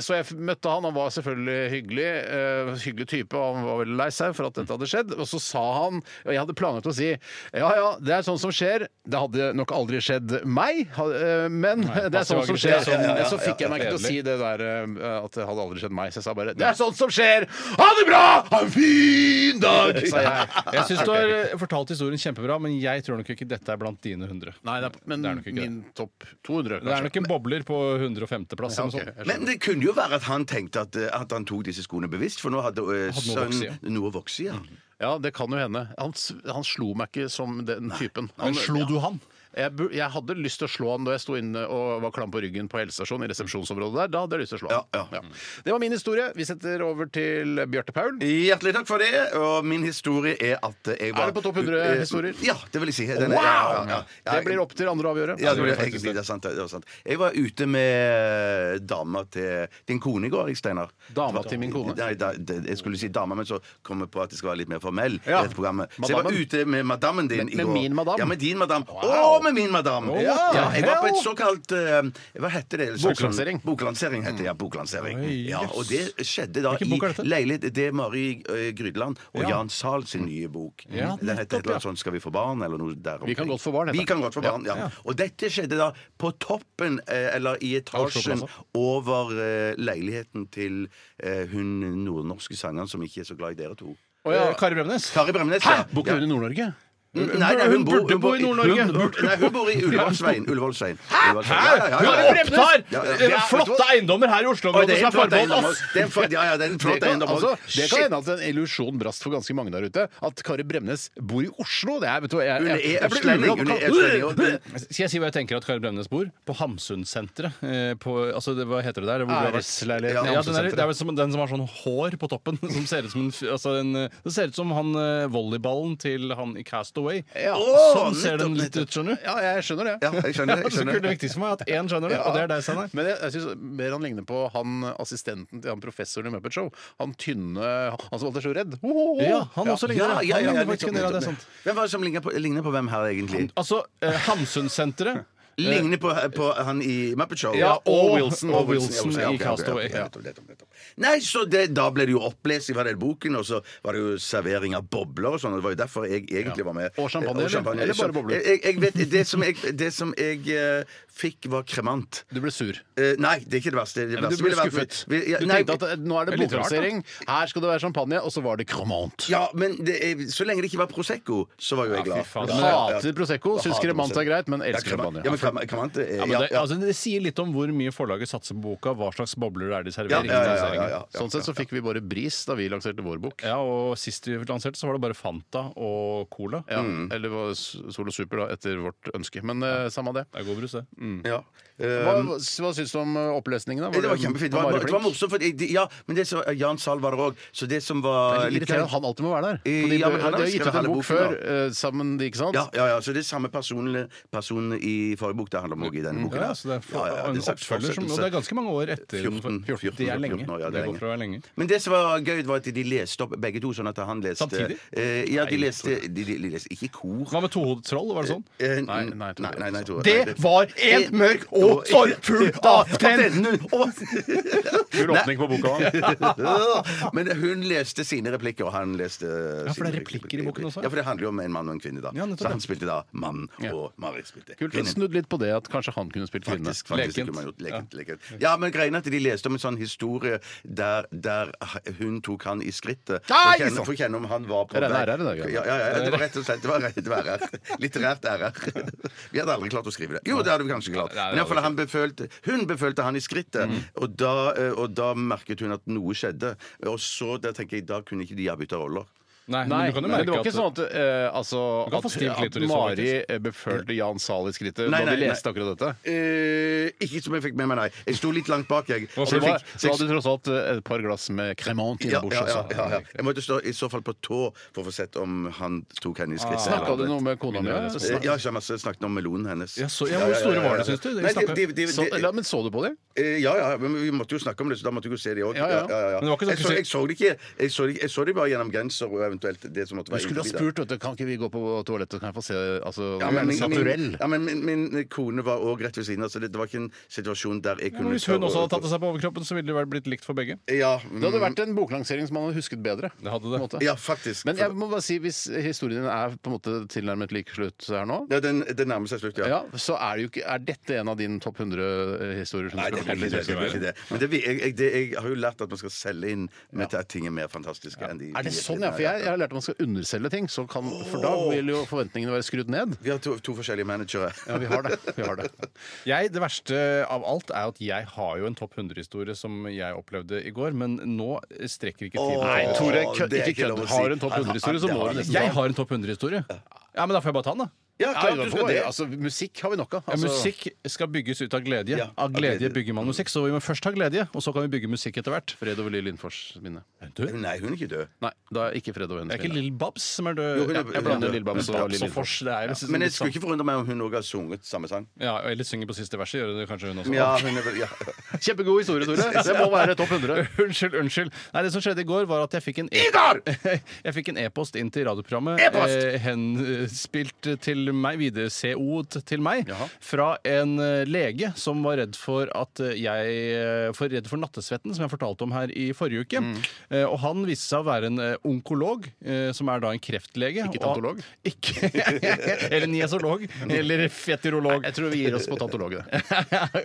Så jeg møtte han, han var selvfølgelig hyggelig. eh, hyggelig type, og han var veldig lei seg for at dette hadde skjedd. Og så sa han, og jeg hadde planlagt å si ja ja, det er sånn som skjer. Det hadde nok aldri skjedd meg, ha- eh, men det er sånn som skjer.
passiv-aggressiv, sånn,
så fikk jeg meg ikke til å si
kjedelig.
det der eh, at det hadde aldri skjedd meg. Så jeg sa bare det er sånn som skjer! Ha det bra! Ha en fin dag! sa jeg.
Jeg syns du har eh, fortalt historien kjempebra, men jeg tror nok ikke dette er blant dine 100.
Nei, det er, men
Det er nok ikke det.
min topp 200,
Det er
kanskje.
nok en bobler på 105.-plass.
Ja,
eller noe
ok,
sånt. Eh,
jeg skjønner.
Men det kunne jo være at han tenkte at, eh, at han tok disse skoene bevisst, for nå hadde eh,
noe å
sønnen
vokse
noe å vokse i. Ja.
Ja, det kan jo hende. Han, s- han slo meg ikke som den typen. Han,
Men slo du han?
jeg, bur- jeg hadde lyst til å slå han da jeg sto inne og var klam på ryggen på helsestasjonen i resepsjonsområdet der. Da hadde jeg lyst til å slå han.
Ja, ja.
Det var min historie. Vi setter over til Bjarte Paul.
Hjertelig takk for det. Og min historie er at jeg var
Er det på topp 100 historier?
Ja, det vil jeg si. Den er-
Wow!
ja, ja, ja.
Det blir opp til andre å avgjøre.
Ja, det blir
faktisk
egentlig det. er sant, det er sant. Jeg var ute med dama til din kone i går, jeg, Steinar.
Dama til min kone?
Nei, da, det, jeg skulle si dama, men så kom jeg på at det skal være litt mer formell. i
Ja.
dette programmet. Så jeg var
Madammen.
ute med madammen din
Med-
i
med
går.
min madam?
Ja, med din madam.
Wow.
Og med min madam!
Oh,
ja,
what the
ja, jeg var på et
hell?
såkalt eh, Hva heter det? Sånn-
Boklansering. Mm.
Boklansering heter det, ja. Boklansering.
Oi,
Ja,
yes.
og det skjedde da
Hvilken
i
bok er dette?
leilighet Det er Mari eh, Grydeland og
Ja.
Jan Zahl sin nye bok.
Ja,
Den heter
nettopp,
et eller
ja.
annet sånn 'Skal vi få barn?' eller noe der
Vi kan godt få barn, heter
Vi
den.
kan godt få barn, ja. Og dette skjedde da på toppen, eh, eller i etasjen
Oslo
over eh, leiligheten til eh, hun nordnorske sangeren som ikke er så glad i dere to.
Å, ja.
Eh, Kari Bremnes?
Kari Bremnes,
Hæ?
ja.
Bor ikke hun i Nord-Norge?
N- Nei, nei, hun,
Hun
bor,
burde
hun
bo
bor
i Nord-Norge.
Hun burde- Nei, hun bor i Ullevålsveien. Ullevålsveien. Ullevålsveien.
Hæ?
Ja, ja,
Hun
ja, ja.
opptar
Ja, ja.
eh,
Det er-
flotte eiendommer her i
Oi,
Oslo-området
det er en
som er
flott
forbeholdt
eiendom.
oss!
Det er en flott- Ja, ja, det er en
Det
flott
kan,
eiendom.
altså, det kan
Shit.
hende at en illusjon brast for ganske mange der ute. At Kari Bremnes bor i Oslo. Det er, vet du, hva, jeg,
Hun er
jeg, jeg blir
E- østlending,
urolig.
hun er østlending, og hun-
Skal jeg si hva jeg tenker at Kari Bremnes bor? På Hamsunsenteret. Eh, på, altså, det, hva heter det der? Hvor du har vært?
Æresleiligheten i
Ja, den er,
Hamsunsenteret.
det er vel som, den som har sånn hår på toppen. Som ser ut som en, f- altså en, eh, det ser ut som han eh, volleyballen til han i Castaway.
Ja.
sånn ser den litt ut, skjønner du.
Ja, jeg skjønner det.
Ja, jeg skjønner.
Ja,
Jeg
så kult,
skjønner.
det viktigste for meg er at én skjønner det, og det er deg, Steinar.
Men jeg, jeg synes mer han ligner på han assistenten til han professoren i Muppet Show. Han tynne Han som alltid er så redd. Ho, ho, ho.
Ja, han også ligner det. Han ligner faktisk en del av det, sant.
Hvem var det som ligner på, ligner på hvem her, egentlig?
Altså, eh, Hamsunsenteret
Ligner på, på han i Muppet Show.
Ja, og Wilson.
Og Wilson
Wilson,
ja, ok, ok,
i
ok,
Castaway.
ok, nettopp, nettopp, nettopp. Nei, så det, Da ble det jo opplesning fra den boken, og så var det jo servering av bobler og sånn. og Det var jo derfor jeg egentlig var med.
Og champagne,
Eh,
eller? Eller bare
Så-
bobler?
Jeg, jeg vet, det som jeg, det som jeg eh, fikk, var kremant.
Du ble sur.
Eh, nei, det er ikke det verste. Det
Ja, men
verste
du ble
ville vært-
skuffet.
vi- ja,
Du
nei,
tenkte at eh, nå er det
Det er litt rart, da.
blodprodusering, her skal det være champagne, og så var det Cremant.
Ja, men det er, så lenge det ikke var Prosecco, så var jo jeg glad.
fy faen.
Du hater Prosecco, syns Cremant er greit, men elsker champagne.
Ja, men Cremant- Cremant er
Ja, men
ja,
det,
ja.
altså, det sier litt om hvor mye forlaget satser på boka, hva slags bobler det er de
Ja,
serverer.
ja, ja,
i serveringen.
ja, ja.
Sånn sett så fikk vi bare bris da vi lanserte vår bok.
Ja, og Sist vi lanserte, så var det bare Fanta og Cola.
Ja, Eller var Sol og Super, da, etter vårt ønske. Men eh, samme det.
Det er god brus, det.
ja.
Hva, hva syns du om eh, opplesningen, da?
Det var kjempefint. Det var,
Mari
det var
flink?
morsomt, for det- ja, men det så, Jan Zahl var der òg, så det som var
Det er irriterende at han alltid må være der.
Eh,
Fordi
ja, men
de
han har
har gitt
skrevet
ut en
halve
bok
boken,
før
da.
eh, sammen, de, ikke sant?
ja, ja, ja, så det er samme person, person i forrige bok det handler om òg i denne boken.
Mm. Ja,
her.
så det er for,
Ja, ja, ja,
en
det er slags
oppfølger som, og det er ganske mange år etter. den for-
14, 14,
det er lenge.
14 år, ja, det er
det går
lenge.
fra å være lenge.
Men det som var gøy, var at de leste opp begge to, sånn at han leste
Samtidig?
Eh, ja, de leste, de, de, de leste ikke i kor.
Hva med tohodet troll? Var det sånn?
Eh,
Nei,
n-
nei, Tore,
nei, nei, nei, Tore, nei,
Det Eh, var en mørk og sorgfull aften!
Kul åpning på boka. da.
Men hun leste sine replikker, og han leste Ja,
for det er replikker i boken også, ja.
Ja, for det handler jo om en mann og en kvinne, da.
Ja, nettopp,
så han
ja.
spilte da mannen, og Marit spilte
Kult.
kvinnen.
Snudd litt på det at kanskje han kunne spilt kvinne.
Faktisk, faktisk,
Lekent.
det kunne man gjort. Lekent, lekent. Ja, men greien er at de leste om en sånn historie der, der hun tok han i skrittet. For å
Nei,
kjenne,
sånn.
for å kjenne om han var på
Det er
vei-
en ære, det der,
ja, ja, ja, det var rett og slett det var rett, det var ærer. Litterært ærer. Vi hadde aldri klart å skrive det. Jo, det hadde vi kanskje klart. Men
Nei, det
i
hadde
hvert fall, han befølte, hun befølte han i skrittet, og, da, eh, og da merket hun at noe skjedde. Og så der tenker jeg, da kunne ikke de ha bytta roller.
Nei,
Nei,
men du kan jo
men
merke
det var ikke
at
sånn at, eh, altså,
Du kan få
at,
stiv
at
klitoris,
Mari eh, befølte Jan Zahl i skrittet
Nei,
da de
nei, nei.
leste akkurat dette.
Eh, ikke som jeg fikk med meg, nei. Jeg sto litt langt bak, jeg.
Så,
Og
det var,
fikk-
så hadde du tross alt eh, et par glass med cremant
Ja,
innebords.
ja, ja, ja, ja.
også.
Jeg måtte stå i så fall på tå for å få sett om han tok
Ah.
henne i skrittet. eller
Snakka du
aldri.
noe med kona mi?
Begynner
ja?
å lese
Eh, Ja, så jeg masse snakket om melonen hennes.
Ja, så- ja, hvor store var det, synes
Nei,
du?
de, de, de,
Så,
de,
ja, men så du på dem?
eh, ja, ja, men vi måtte jo snakke om det, så da måtte vi jo se de òg.
Ja, ja.
Men det var ikke sånn
jeg, så- jeg så det ikke Jeg så det- jeg så de bare gjennom genser og eventuelt det som måtte
Du
være
skulle ha
innenfor de, da.
spurt, vet du. Kan ikke vi gå på toalettet, så kan jeg få se altså,
Ja, men, min,
naturell?
min, ja, men min, min kone var òg rett ved siden av, så det, det var ikke en situasjon der jeg
Men
kunne
Hvis hun også hadde tatt av seg på overkroppen, så ville det vært blitt likt for begge.
Ja, mm,
Det hadde vært en boklansering som man hadde husket bedre.
Det hadde
på
det.
en måte.
ja faktisk.
Men jeg må bare si, hvis historien din er på en måte tilnærmet lik slutt her nå,
ja, den, det nærmer seg slutt, ja.
ja, så er, det jo ikke, er dette en av dine topp 100 historier? Som
Nei,
du
det
skal
er ikke
fortelle?
det. det, er ikke det. Men det, vi- jeg, jeg, det, jeg har jo lært at man skal selge inn med at ting er mer fantastiske enn de
Er det sånn, ja? For jeg, jeg har lært at man skal underselge ting, så kan, for da vil jo forventningene være skrudd ned.
Vi har to, to forskjellige managere.
Ja, vi har det. Vi har det.
Jeg, Det verste av alt er at jeg har jo en topp 100-historie som jeg opplevde i går, men nå strekker ikke tiden.
Nei, Tore, kø,
det er
ikke
ikke
kødd.
lov å si.
Har du en topp
Nei,
100-historie, så
det
må
har
du
jeg
nesten
Jeg har en topp 100-historie. Ja, men da får jeg bare ta den, da.
Ja,
Ja,
klart
ja,
du
får
skal
det.
det.
Altså, musikk har vi nok av.
Ja,
Altså,
musikk skal bygges ut av glede.
Ja,
av
av
glede
glede.
bygger man musikk, så vi må først ha glede, og så kan vi bygge musikk etter hvert.
Fred over Lill Lindfors minne.
Nei, hun er ikke død.
Nei, da er ikke Fred over
Det
hennes
er ikke
minne.
Lill Babs som er død.
Jo, hun er-
Ja,
Jeg blander Lill Babs og Lill
Babs og
Lindfors.
Fors. Det er jo
Men
litt
jeg skulle
sånn-
ikke forundre meg om hun òg har sunget samme sang.
ja, Eller synge på siste verset, gjør det kanskje hun også.
Ja, hun er vel, ja.
Kjempegod historie, Tore. Det må være topp 100.
Unnskyld, unnsgår. Nei, Det som skjedde i går, var at jeg fikk en e-
Idar!
Jeg fikk en e-post inn til radioprogrammet.
E-post!
eh, henspilt til meg, videre CO til meg,
Jaha.
fra en eh, lege som var redd for at eh, jeg eh, For redd for nattesvetten, som jeg fortalte om her i forrige uke.
Mm.
Eh, og han viste seg å være en eh, onkolog, eh, som er da en kreftlege.
Ikke
og-
tantolog?
Ikke, eller niasolog. Eller fetirolog.
Jeg tror vi gir oss på tantologet.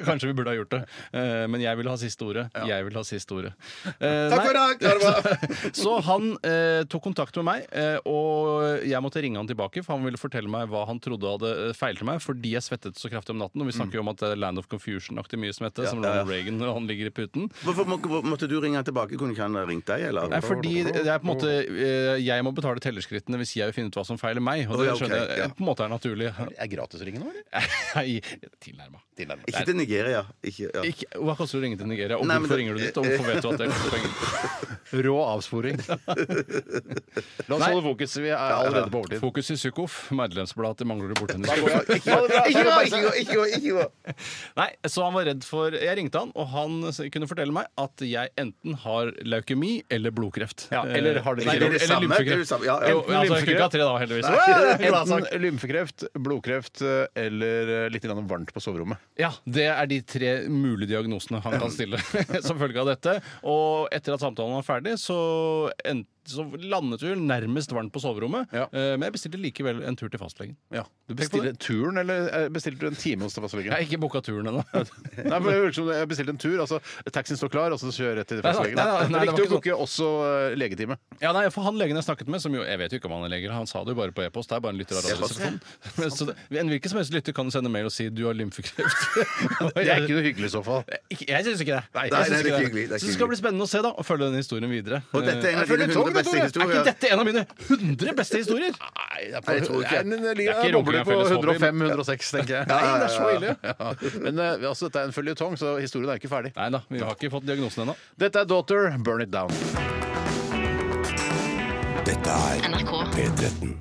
Kanskje vi burde ha gjort det. Eh, Men jeg vil ha siste ordet. Jeg vil ha siste ordet. Takk
for i dag, ha det
Så han eh, tok kontakt med meg, eh, og jeg måtte ringe han tilbake, for han ville fortelle meg hva han trodde hadde eh, feilet meg, fordi jeg svettet så kraftig om natten. Og vi
Mm.
snakker jo om at det er Land of Confusion-aktig mye som heter, som Ronald Reagan og han ligger i puten.
Hvorfor må, hvor- måtte du ringe henne tilbake? Kunne ikke han ha ringt deg, eller?
Nei, fordi det er på en måte eh, Jeg må betale tellerskrittene hvis jeg vil finne ut hva som feiler meg. Og
Å,
det
ja, ok,
skjønner jeg
ja.
eh, på en måte er naturlig.
Er gratisringen nå, eller?
Nei, Tilnærma.
Ikke til Nigeria. Ikke, ja.
Ikke, hva koster det å ringe til Nigeria? Og
Nei, men
hvorfor
det-
ringer du dit? Og hvorfor vet du at det koster penger?
Rå avsporing. La oss holde fokus. Vi er allerede på overtid.
Fokus i Sykof, medlemsblad dette mangler du borti en
Ikke
diskusjon.
gå, ikke gå, ikke gå, ikke gå, ikke gå, ikke gå.
Nei, så han var redd for Jeg ringte han, og han s- kunne fortelle meg at jeg enten har leukemi eller blodkreft.
Ja, eller har dere
Nei,
ikke-
eller
Det er det samme, det er det
lymfekreft.
samme, ja, ja.
Jo,
Enten
altså, jeg kunne ikke ha tre da, heldigvis.
Enten lymfekreft, blodkreft eh, eller eh, litt grann varmt på soverommet.
Ja, Det er de tre mulige diagnosene han kan stille som følge av dette. Og etter at samtalen var ferdig, så, en- så landet vi vel nærmest varmt på soverommet.
Ja.
Eh, Men jeg bestilte likevel en tur til fastlegen.
Du
Tenk på
bestiller turen, eller eh, bestilte du en time hos fastlegen?
Jeg har ikke booka turen ennå.
Nei, men det virker som jeg bestilte en tur. altså Taxien står klar, og så kjører jeg rett til
Nei, nei,
fastlegen.
nei, nei,
Det
det
er
var
viktig å
ikke
booke også eh, legetime.
Ja, nei, for han legen jeg snakket med, som jo, jeg vet jo ikke om han er lege, han sa det jo bare på e-post. Det er bare en lytter av Radioresepsjonen. Men Så det, en hvilken som helst lytter kan jo sende mail og si du har lymfekreft.
Det er ikke noe hyggelig i så fall.
Ikke- Jeg syns ikke det. Jeg
nei,
synes
det er
ikke
ikke hyggelig, det er ikke
Så det skal
hyggelig.
bli spennende å se da, og følge denne historien videre.
Og dette er en
Eh,
av dine 100
følger tong,
beste
Tore. Er ikke
historier.
dette en
Nei,
av mine 100 beste historier?
jeg tror ikke.
en- en- en-
ikke
en boble
runking av
på
felles hobby,
105-106, tenker jeg.
Nei, det er så ille.
Ja. Men eh, altså, dette er en føljetong, så historien er ikke ferdig.
Nei da, vi har ikke fått diagnosen ennå.
Dette er Daughter, Burn It Down.
Dette er
NRK.
P13.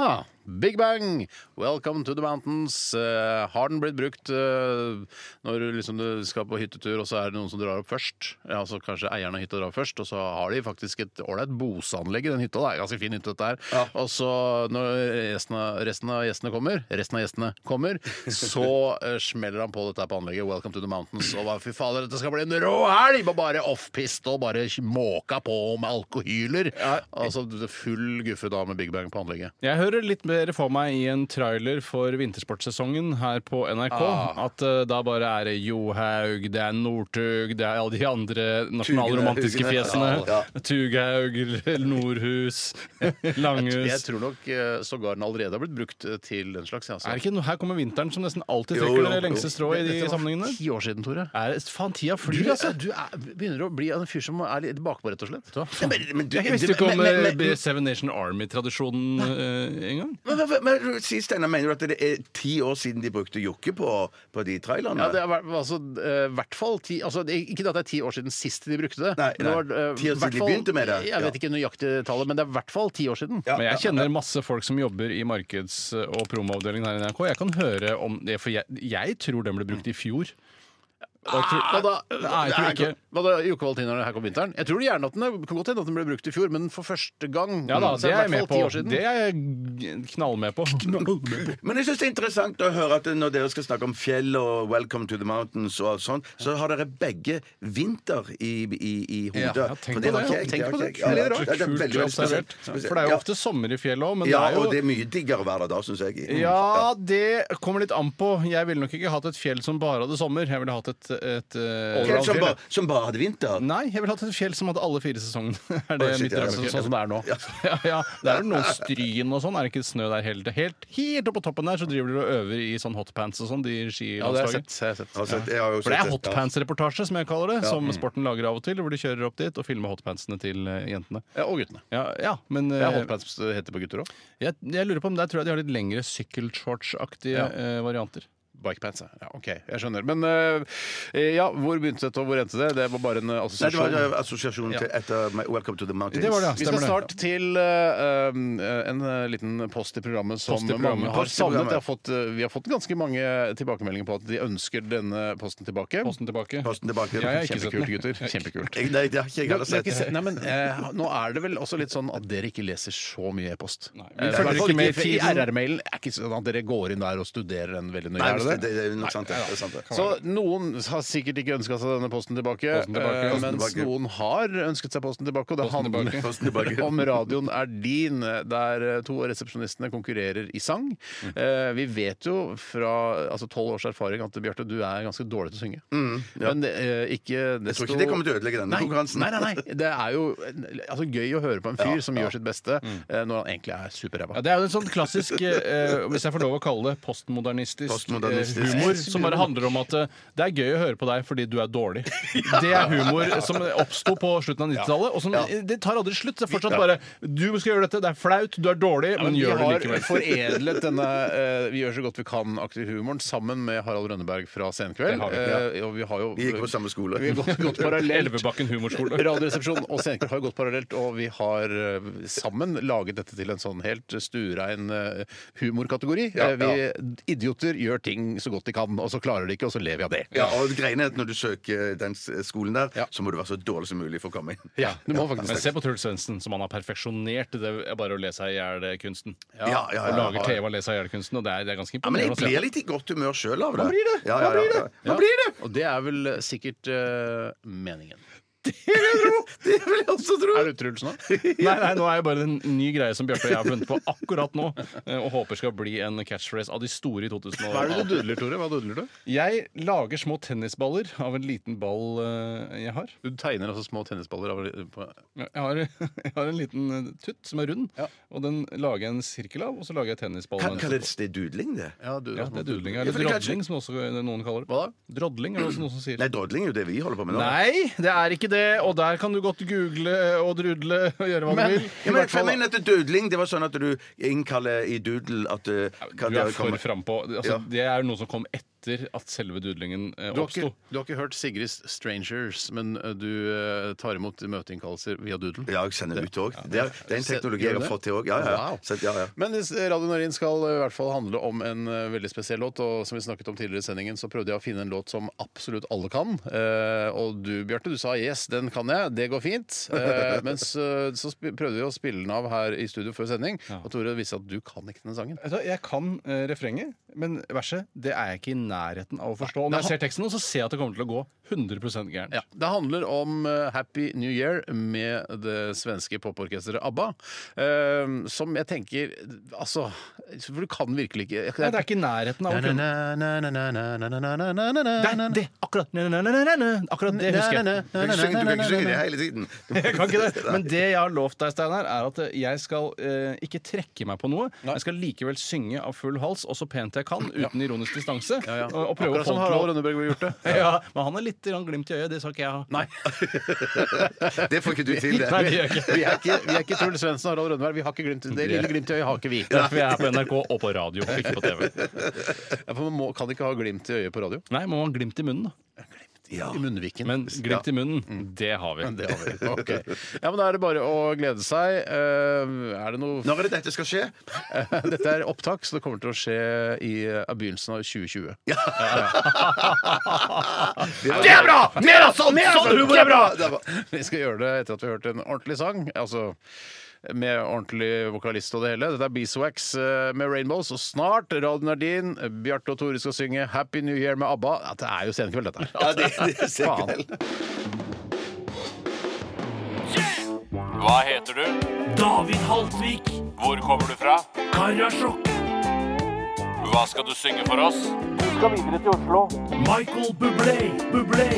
Ah, Big Bang, Welcome to the Mountains. Eh, har den blitt brukt eh, når du liksom du skal på hyttetur, og så er det noen som drar opp først? Ja, altså Kanskje eieren av hytta drar først, og så har de faktisk et ålreit boseanlegg i den hytta. Det er en ganske fin hytte, dette her. Og så når resten av, resten av gjestene kommer, resten av gjestene kommer, så eh, smeller han på dette her på anlegget. Welcome to the Mountains. Og hva, fy fader, dette skal bli en rå helg! Og Bare offpist og bare måka på med alkohyler. Altså full guffe da med Big Bang på anlegget.
Jeg hører litt mer for meg i en trailer for vintersportsesongen her på NRK.
Ah.
At eh, da bare er det Johaug, det er Northug, det er alle de andre nasjonalromantiske
Tugene,
fjesene.
Tugene, ja,
Tughaug, Nordhus,
Jeg
Langhus.
tror nok eh, sågar den allerede har blitt brukt eh, til den slags. Altså.
Er det ikke noe, her kommer vinteren som nesten alltid
Jo,
trekker
jo,
det
jo.
lengste strået i de sammenhengene.
Ti år siden, Tore.
Er det, faen, tida
Du,
flyr, altså!
eh, du er, begynner å bli en fyr som er litt bakpå, rett og slett.
Ja, men- men du-
Jeg visste jo ikke
men-
om
men-
eh,
men-
B- Seven Nation Army-tradisjonen eh, engang.
Men, men, men, men si, Steinar, mener du at det er ti år siden de brukte jokke på, på de trailerne?
Ja, det er hver- altså, eh, hvert fall ti, altså, det, Ikke at det er ti år siden sist de brukte det.
Nei,
men
nei.
det eh,
Ti år siden
hvert
de
fall-
begynte med det.
Jeg vet ikke nøyaktig tallet, men det er i hvert fall ti år siden.
Ja,
Men jeg
ja,
kjenner masse folk som jobber i markeds- og promoavdelingen her i NRK. Jeg kan høre om det, for jeg, jeg tror den ble brukt i fjor. Da tror-
Hva da?
Nei, jeg tror ikke.
Hva da, Jokke Valentinerne, her kom vinteren? Jeg tror gjerne at den er, kan godt hende at den ble brukt i fjor, men for første gang
Ja da,
så
det er
i
jeg
hvert
med
fall ti
på.
år siden.
Det er jeg knall med på.
Men jeg synes det er interessant å høre at når dere skal snakke om fjell og Welcome to the Mountains og alt sånt, så har dere begge vinter i, i, i hodet.
Ja,
For
tenk på
har
det.
ikke jeg,
Tenk
har
på det.
ikke jeg. Ja,
Det er
ja,
kult
veldig
observert.
spesielt.
For det er jo ofte sommer i fjellet òg, men det
Ja,
er jo
og det er mye diggere hver dag, syns jeg.
Ja, det kommer litt an på. Jeg ville nok ikke hatt et fjell som bare hadde sommer. Jeg ville hatt et, et eh,
Fjell som, bare, som bare hadde vinter.
Nei, jeg ville hatt et fjell som hadde alle fire sesongene. Er det
Oi, shit,
mitt
ja,
drømmefjell?
sånn- sånn
som det er nå. Ja, ja, Det er jo noen stryn og sånn. Er det ikke snø der helt Helt, helt oppe på toppen der så driver de og øver i sånn hotpants og sånn, de
Ja, det har jeg sett.
skilandslaget.
Jeg har sett.
Altså, jeg har jo
For det
sett
er
ja.
hotpants-reportasje, som jeg kaller det, som
Mm.
sporten lager av og til. Hvor de kjører opp dit og filmer hotpantsene til eh, jentene.
Ja, og guttene.
Ja, ja men
Det
eh,
er hotpants det heter på gutter òg.
jeg, jeg lurer på om der tror jeg de har litt lengre sykkelshorts-aktige
Ja.
eh, varianter.
Bikepants, ja. ja. Ok, jeg skjønner. Men eh, ja, hvor begynte dette, og hvor endte det? Det var bare en eh,
Nei, det
assosiasjon.
var eh, assosiasjonen til etter Welcome to the Mountains.
Det var det,
vi skal
stemmer det.
snart til eh, um, en eh, liten post i programmet som
Post i programmet.
mange har
Post i
savnet.
programmet.
Jeg har fått, eh, vi har fått ganske mange tilbakemeldinger på at de ønsker denne posten tilbake.
Posten tilbake.
Posten tilbake.
Ja, jeg har ikke sett den.
Kjempekult, gutter. Kjempekult.
Jeg- Nei, det har ikke jeg heller
Det er
sett.
ikke se- Nei, men, eh, nå er det vel også litt sånn at dere ikke leser så mye e-post.
Nei,
Eh,
vi følger
i hvert fall
ikke med i
ikke-
tiden.
RR-mailen er ikke sånn at dere går inn der og studerer den veldig nøye.
Nei,
er det det?
det, det, det er nok sant. Det, det er sant det.
Så noen har sikkert ikke ønska seg denne posten tilbake,
Posten tilbake,
eh,
posten
mens
tilbake.
noen har ønsket seg posten tilbake. Og det
Posten
handler
tilbake.
Posten tilbake.
om radioen er din, der eh, to av resepsjonistene konkurrerer i sang.
Mm.
Eh, Vi vet jo fra altså, tolv års erfaring at Bjarte, du er ganske dårlig til å synge. Men eh, ikke desto
Mm, Jeg tror ikke det kommer til å ødelegge denne
Nei,
konkurransen.
nei, nei, nei. Det er jo eh, altså, gøy å høre på en fyr som gjør sitt beste
Mm.
eh, når han egentlig er
Ja,
superræva.
eh, det er jo en sånn klassisk, eh, hvis jeg får lov å kalle det, postmodernistisk,
Humoristisk.
humor som bare handler om at eh, det er gøy å høre på deg fordi du er dårlig. Det er humor som oppsto på slutten av 90-tallet, og som det tar aldri slutt. Det er fortsatt bare Du skal gjøre dette, det er flaut, du er dårlig, men
vi
gjør det
har
likevel.
foredlet denne eh, Vi gjør så godt vi kan-aktige humoren sammen med Harald Rønneberg fra Senkveld.
Det har vi, ja.
Eh, og vi har jo
Vi gikk på samme skole.
Vi har gått, gått parallelt.
Elvebakken humorskole.
Radioresepsjonen og Senkveld har jo gått parallelt, og vi har eh, sammen laget dette til en sånn helt stuerein eh, humorkategori. Eh, vi idioter gjør ting så godt de kan, og så klarer de ikke, og så lever vi av det.
Ja, og greiene er at Når du søker den s- skolen der,
Ja.
så må du være så dårlig som mulig for å komme inn.
Ja, du må faktisk
Men se på Truls Svendsen, som han har perfeksjonert. Det er bare å le seg i hjel-kunsten.
Ja, ja, ja,
Og lager
ja.
TV av le seg i hjel-kunsten, og det er, det er ganske
Ja, men
imponerende.
jeg
å se.
blir litt i godt humør sjøl av det.
Man blir det.
Ja, ja,
Man blir
ja, ja.
det.
Man blir det!
Og det er vel sikkert eh, meningen.
Det vil jeg også tro.
Er du Truls nå?
Nei, nei, nå er jo bare en ny greie som Bjarte og jeg har funnet på akkurat nå, eh, og håper skal bli en catchphrase av de store i 2000.
Hva er det du dudler, Tore? Hva dudler du?
Jeg lager små tennisballer av en liten ball eh, jeg har.
Du tegner altså små tennisballer av på
Jeg har, jeg har en liten eh, tutt som er rund, og den lager jeg en sirkel av, og så lager jeg tennisball. med en-
Kalles det dudling, det?
ja, du,
Ja, det er dudling, eller
Ja, for det er
drodling, som også eh, noen kaller det.
Hva da?
Drodling er det også noen som sier.
Nei, drodling er jo det vi holder på med nå.
Nei, det er ikke det, og der kan du godt google eh, og drudle og gjøre hva
Men-
du vil.
Ja, men, for jeg mener at dudling, det var sånn at du innkaller i doodle at eh, kan
Du
dere
er for
komme-
frampå. Altså,
Ja.
Det er noe som kom etter at selve dudlingen eh,
Du har, ikke,
oppsto.
du har ikke hørt Sigrids 'Strangers', men eh, du eh, tar imot møteinnkallelser via Doodle?
Ja, jeg sender ut òg. Det, er- det er en teknologi
Gjør
jeg
det?
har fått til òg. Ja, ja.
Wow.
Så, ja, ja.
Men eh, Radio Narin skal eh, i hvert fall handle om en eh, veldig spesiell låt. Og som vi snakket om tidligere i sendingen, så prøvde jeg å finne en låt som absolutt alle kan. Eh, og du, Bjarte, du sa 'yes, den kan jeg', det går fint. Eh, mens eh, så sp prøvde vi å spille den av her i studio før sending, og Tore viste at du kan ikke denne sangen.
Vet du hva, Jeg kan eh, refrenget, men verset det er jeg ikke i nærheten av å forstå. Om jeg ser teksten nå, så ser jeg at det kommer til å gå 100 gærent.
Ja, Det handler om eh, Happy New Year med det svenske poporkesteret ABBA. eh, som jeg tenker Altså, for du kan virkelig ikke
Nei, det er ikke i nærheten av å kunne Det, er- det, akkurat, ne, ne, ne, ne, ne, ne, akkurat det husker jeg.
Du kan ikke synge- du kan ikke synge det hele tiden. Du må-
Jeg kan ikke det. Men det jeg har lovt deg, Steinar, er at eh, jeg skal eh, ikke trekke meg på noe. Jeg skal likevel synge av full hals, og så pent jeg kan, uten ironisk distanse. Og, og prøve å
Akkurat som
få
Harald
folk til å-
Rønneberg ville gjort det.
ja, Men han har litt grann glimt i øyet, det skal ikke jeg ha.
Nei,
Det får ikke du til, det.
Nei, det gjør jeg ikke.
vi er ikke, vi er ikke Truls Svendsen og Harald Rønneberg. Vi har ikke glimt, det lille glimtet i øyet har ikke vi.
Derfor jeg er på NRK og på radio, ikke på TV.
Ja, for man må, kan ikke ha glimt i øyet på radio.
Nei, må man ha glimt i munnen, da.
I munnviken.
Men glimt i munnen, det har vi.
det har vi. Ok. Ja, men Da er det bare å glede seg. Eh, er det noe
Når er det dette skal skje?
Dette er opptak, så det kommer til å skje i eh, begynnelsen av 2020.
Det er bra! Mer av sånn! Sånn humor er bra! Det er bra.
Vi skal gjøre det etter at vi har hørt en ordentlig sang. Altså med ordentlig vokalist og det hele. Dette er Beeswax eh, med Rainbows. Og snart Radio Nardin, Bjarte og Tore skal synge Happy New Year med ABBA. Ja, det er jo senkveld, dette.
Ja, det, det ser ikke
Faen.
vel.
Hva heter du? David Haltvik. Hvor kommer du fra? Karasjok. Hva skal du synge for oss? Du skal videre til Oslo. Michael Bublé, Bublé.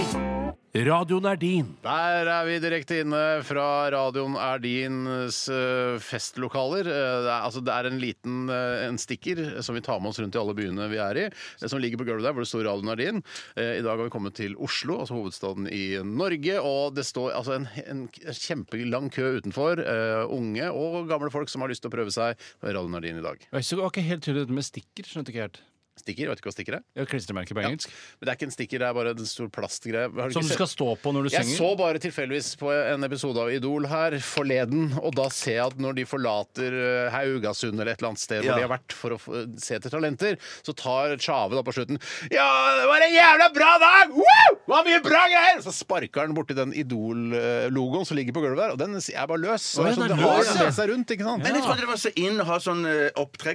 Radioen er din.
Der er vi direkte inne fra radioen Erdins eh, festlokaler. Eh, Det er, altså, det er en liten eh, en stikker som vi tar med oss rundt i alle byene vi er i, eh, som ligger på gulvet der hvor det står radioen Erdin. Eh, I dag har vi kommet til Oslo, altså hovedstaden i Norge, og det står altså en, en kjempelang kø utenfor. eh, unge og gamle folk som har lyst til å prøve seg med radioen Erdin i dag.
Jeg synes det var ikke helt tydelig dette med stikker. skjønte ikke helt.
Stikker, vet du ikke hva stikker er?
Jeg har klistremerke på engelsk.
Men det er ikke en stikker, det er bare en stor plastgreie. Har du
Som
ikke
du
sett-
skal stå på når du
Jeg så
synger.
bare tilfeldigvis på en episode av Idol her forleden, og da ser jeg at når de forlater eh, Haugasund eller et eller annet sted hvor
Ja.
de har vært for å få- se etter talenter, så tar Tjave da på slutten Ja, det var en jævla bra dag! Woo! Det var mye bra greier! Så sparker han borti den Idol-logoen som ligger på gulvet der, og den er bare løs. Så det er
den
sånn,
er
det har
løs,
den
ja.
med seg rundt, ikke sant?
Men jeg trodde det var så inn å ha sånn eh,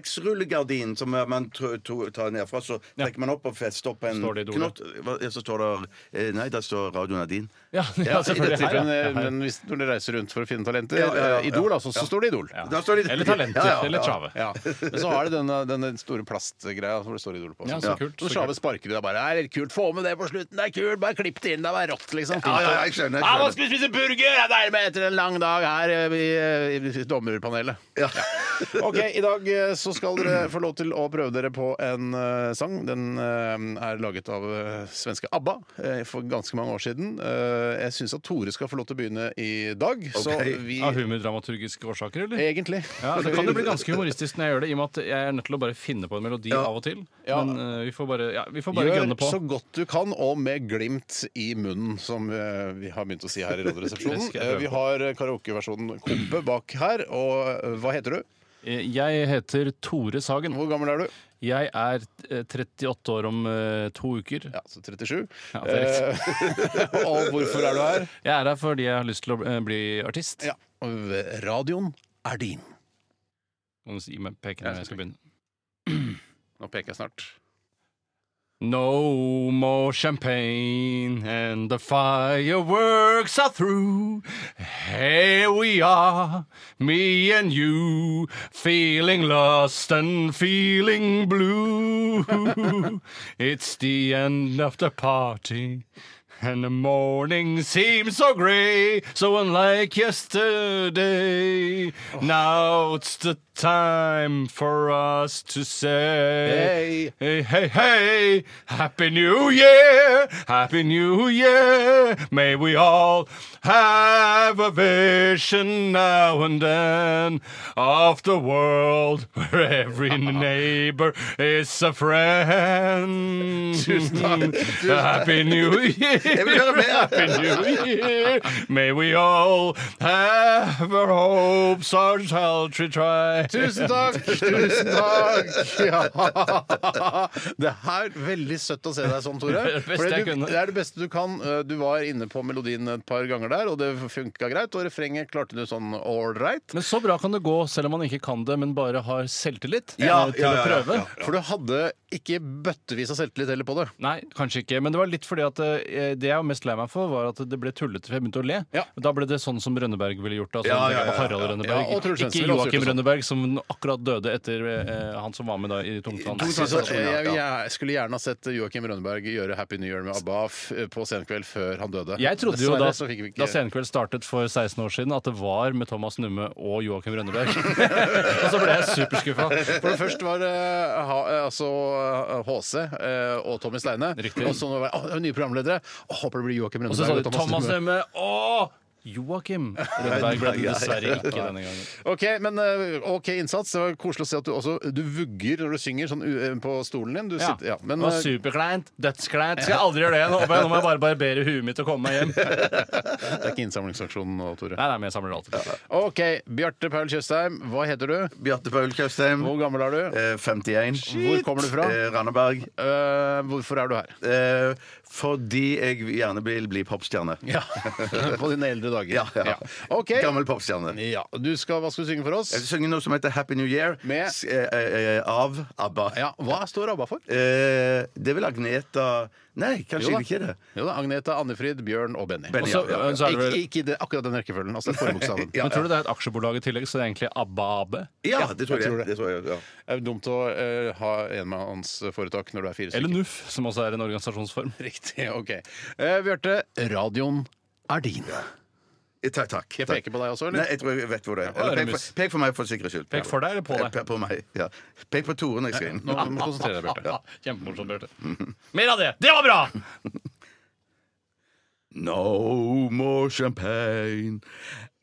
opptrekksrullegardin som eh, man tr- to- tar nedfra, så trekker man opp og fester opp en
Står det i dolet?
knott. Hva- Ja, så står det eh, Nei, der står radioen er din.
Ja,
I
ja,
dette
selvfølgelig. Her,
tilfellet,
ja.
eh, men hvis når de reiser rundt for å finne talenter,
Ja, ja, ja,
eh, Idol, altså, så står det Idol.
Da står det-
Eller talenter.
Ja, ja,
Eller
ja.
trave.
Ja. Men så har de denne, denne store plastgreia hvor det står Idol på.
Ja, så kult.
Så
Så
Sjave
kult.
sparker de deg bare. Det er litt kult, få med det på slutten, det er kult, bare klipp det inn, det er rått, liksom.
Ja, ja, ja, jeg skjønner, jeg
Ja, nå
skjønner.
skal vi spise burger! Det er deilig med etter en lang dag her eh, i, i, i dommerpanelet.
Ja.
Ok, i dag eh, så skal dere få lov til å prøve dere på en eh, sang. Den eh, er laget av eh, svenske ABBA eh, for ganske mange år siden. Eh, jeg syns at Tore skal få lov til å begynne i dag, så
Ok.
vi
Av humordramaturgiske årsaker, eller?
Egentlig.
Ja, Det kan jo bli ganske humoristisk når jeg gjør det, i og med at jeg er nødt til å bare finne på en melodi av og til.
Ja.
Men eh, vi får bare, ja, vi får bare
Gjør
gønne på.
så godt du kan, og med glimt i munnen, som eh, vi har begynt å si her i Radioresepsjonen.
Det skal jeg prøve
Eh, vi har eh, karaokeversjonen Kompe bak her, og eh, hva heter du?
Eh, Jeg heter Tore Sagen.
Hvor gammel er du?
Jeg er eh, 38 år om eh, to uker.
Ja, så 37.
Ja, det er
Eh, og hvorfor er du her?
Jeg er her fordi jeg har lyst til å eh, bli artist.
Ja. Radioen er din.
Kan du si- gi meg peken når jeg skal begynne?
Nå peker jeg snart.
No more champagne and the fireworks are through. Here we are, me and you, feeling lost and feeling blue. it's the end of the party. And the morning seems so grey, so unlike yesterday. Now it's the time for us to say, hey, hey, hey, Happy New Year, Happy New Year. May we all have a vision now and then of the world where every neighbor is a friend. Happy New Year.
Jeg vil høre mer!
Happy New Year. May we all have our hopes, our paltry try.
Tusen takk! Tusen takk! Ja. Det er veldig søtt å se deg sånn, Tore.
Det er det beste
For
jeg
du,
kunne.
det er det beste du kan. Eh, Du var inne på melodien et par ganger der, og det funka greit. Og refrenget klarte du sånn ålreit.
Men så bra kan det gå selv om man ikke kan det, men bare har selvtillit
Ja,
eh, til
ja, ja,
å prøve.
ja,
For du hadde ikke bøttevis av selvtillit heller på det.
Nei, kanskje ikke. Men det var litt fordi at eh, det jeg var mest lei meg for, var at det ble tullete. for Jeg begynte å le.
Ja.
Da ble det sånn som Rønneberg ville gjort. Altså,
Ja, ja, ja, ja, ja.
Harald Rønneberg.
Ja, og Truls Svendsen
ikke
ville også gjort
Joakim
det sånn.
Rønneberg, som akkurat døde etter eh, han som var med da i Tungtvann.
Så, så,
Ja, ja.
jeg, jeg skulle gjerne ha sett Joakim Rønneberg gjøre Happy New Year med ABBA f- eh, på Senkveld før han døde.
Jeg trodde jo da,
Dessverre så fikk vi ikke-
da Senkveld startet for 16 år siden, at det var med Thomas Numme og Joakim Rønneberg. og så ble jeg superskuffa.
For det første var det ha, altså, HC eh, og Tommy Steine.
Riktig.
Og så nå var det, å, det er nye programledere. Å, håper det blir Joakim
Og så sa
Rønneberg
de Thomas Numme og Joakim Rønneberg ble det dessverre ikke denne gangen.
Ok, men eh, ok innsats. Det var koselig å se at du også du vugger når du synger sånn u- eh, på stolen din. Du
Ja.
sitter, ja.
det
Men,
var
eh,
superkleint. Dødskleint. Skal jeg aldri gjøre det igjen. Håper jeg. Nå må jeg bare barbere huet mitt og komme meg hjem. Nei,
det er ikke innsamlingsaksjonen nå, Tore.
nei, men jeg samler det alltid.
Ok, Bjarte Paul Tjøstheim, hva heter du?
Bjarte Paul Tjøstheim,
Hvor gammel er du?
eh, 51.
Hvor kommer du fra?
Eh, Randaberg.
Eh, hvorfor er du her?
Eh, Fordi jeg gjerne vil bli popstjerne.
Ja, På dine eldre dager.
Ja, ja.
Ok.
Gammel popstjerne.
Ja, du skal, hva skal du synge for oss?
Jeg vil synge noe som heter Happy New Year
Med?
s- eh, eh, eh, av ABBA.
Ja, Hva står ABBA for?
Eh, det er vel Agneta Nei,
Jo da.
kanskje ikke det.
Jo da, Agneta, Annefrid, Bjørn og Benny.
Benny,
Så, eh,
ja, ja, ja.
så er
Ikke,
det vel
ikke i det, akkurat den rekkefølgen. Altså det er forbokstaven.
men tror du det er et aksjebolag i tillegg, så det er egentlig ABBA AB?
Ja, det tror
jeg tror det.
jeg. det tror jeg ja.
Det er jo dumt å eh, ha enmannsforetak når du er fire stykker.
Eller NUF, som også er en organisasjonsform.
Riktig. ok. Eh, Bjarte, radioen er din.
Eh, Takk, takk.
Jeg
takk.
peker på deg også,
Nei,
eller?
jeg tror jeg vet hvor det er.
da er
Eller,
det
pek,
mus.
på, pek for meg, for sikkerhets skyld.
Pek for deg eller på deg?
Pek på meg, ja. Pek på Tore når jeg skal inn.
Eh, Nå må du konsentrere deg, Bjarte.
Ah, Kjempemorsomt, Bjarte. Mer av det! Det var bra!
No more champagne.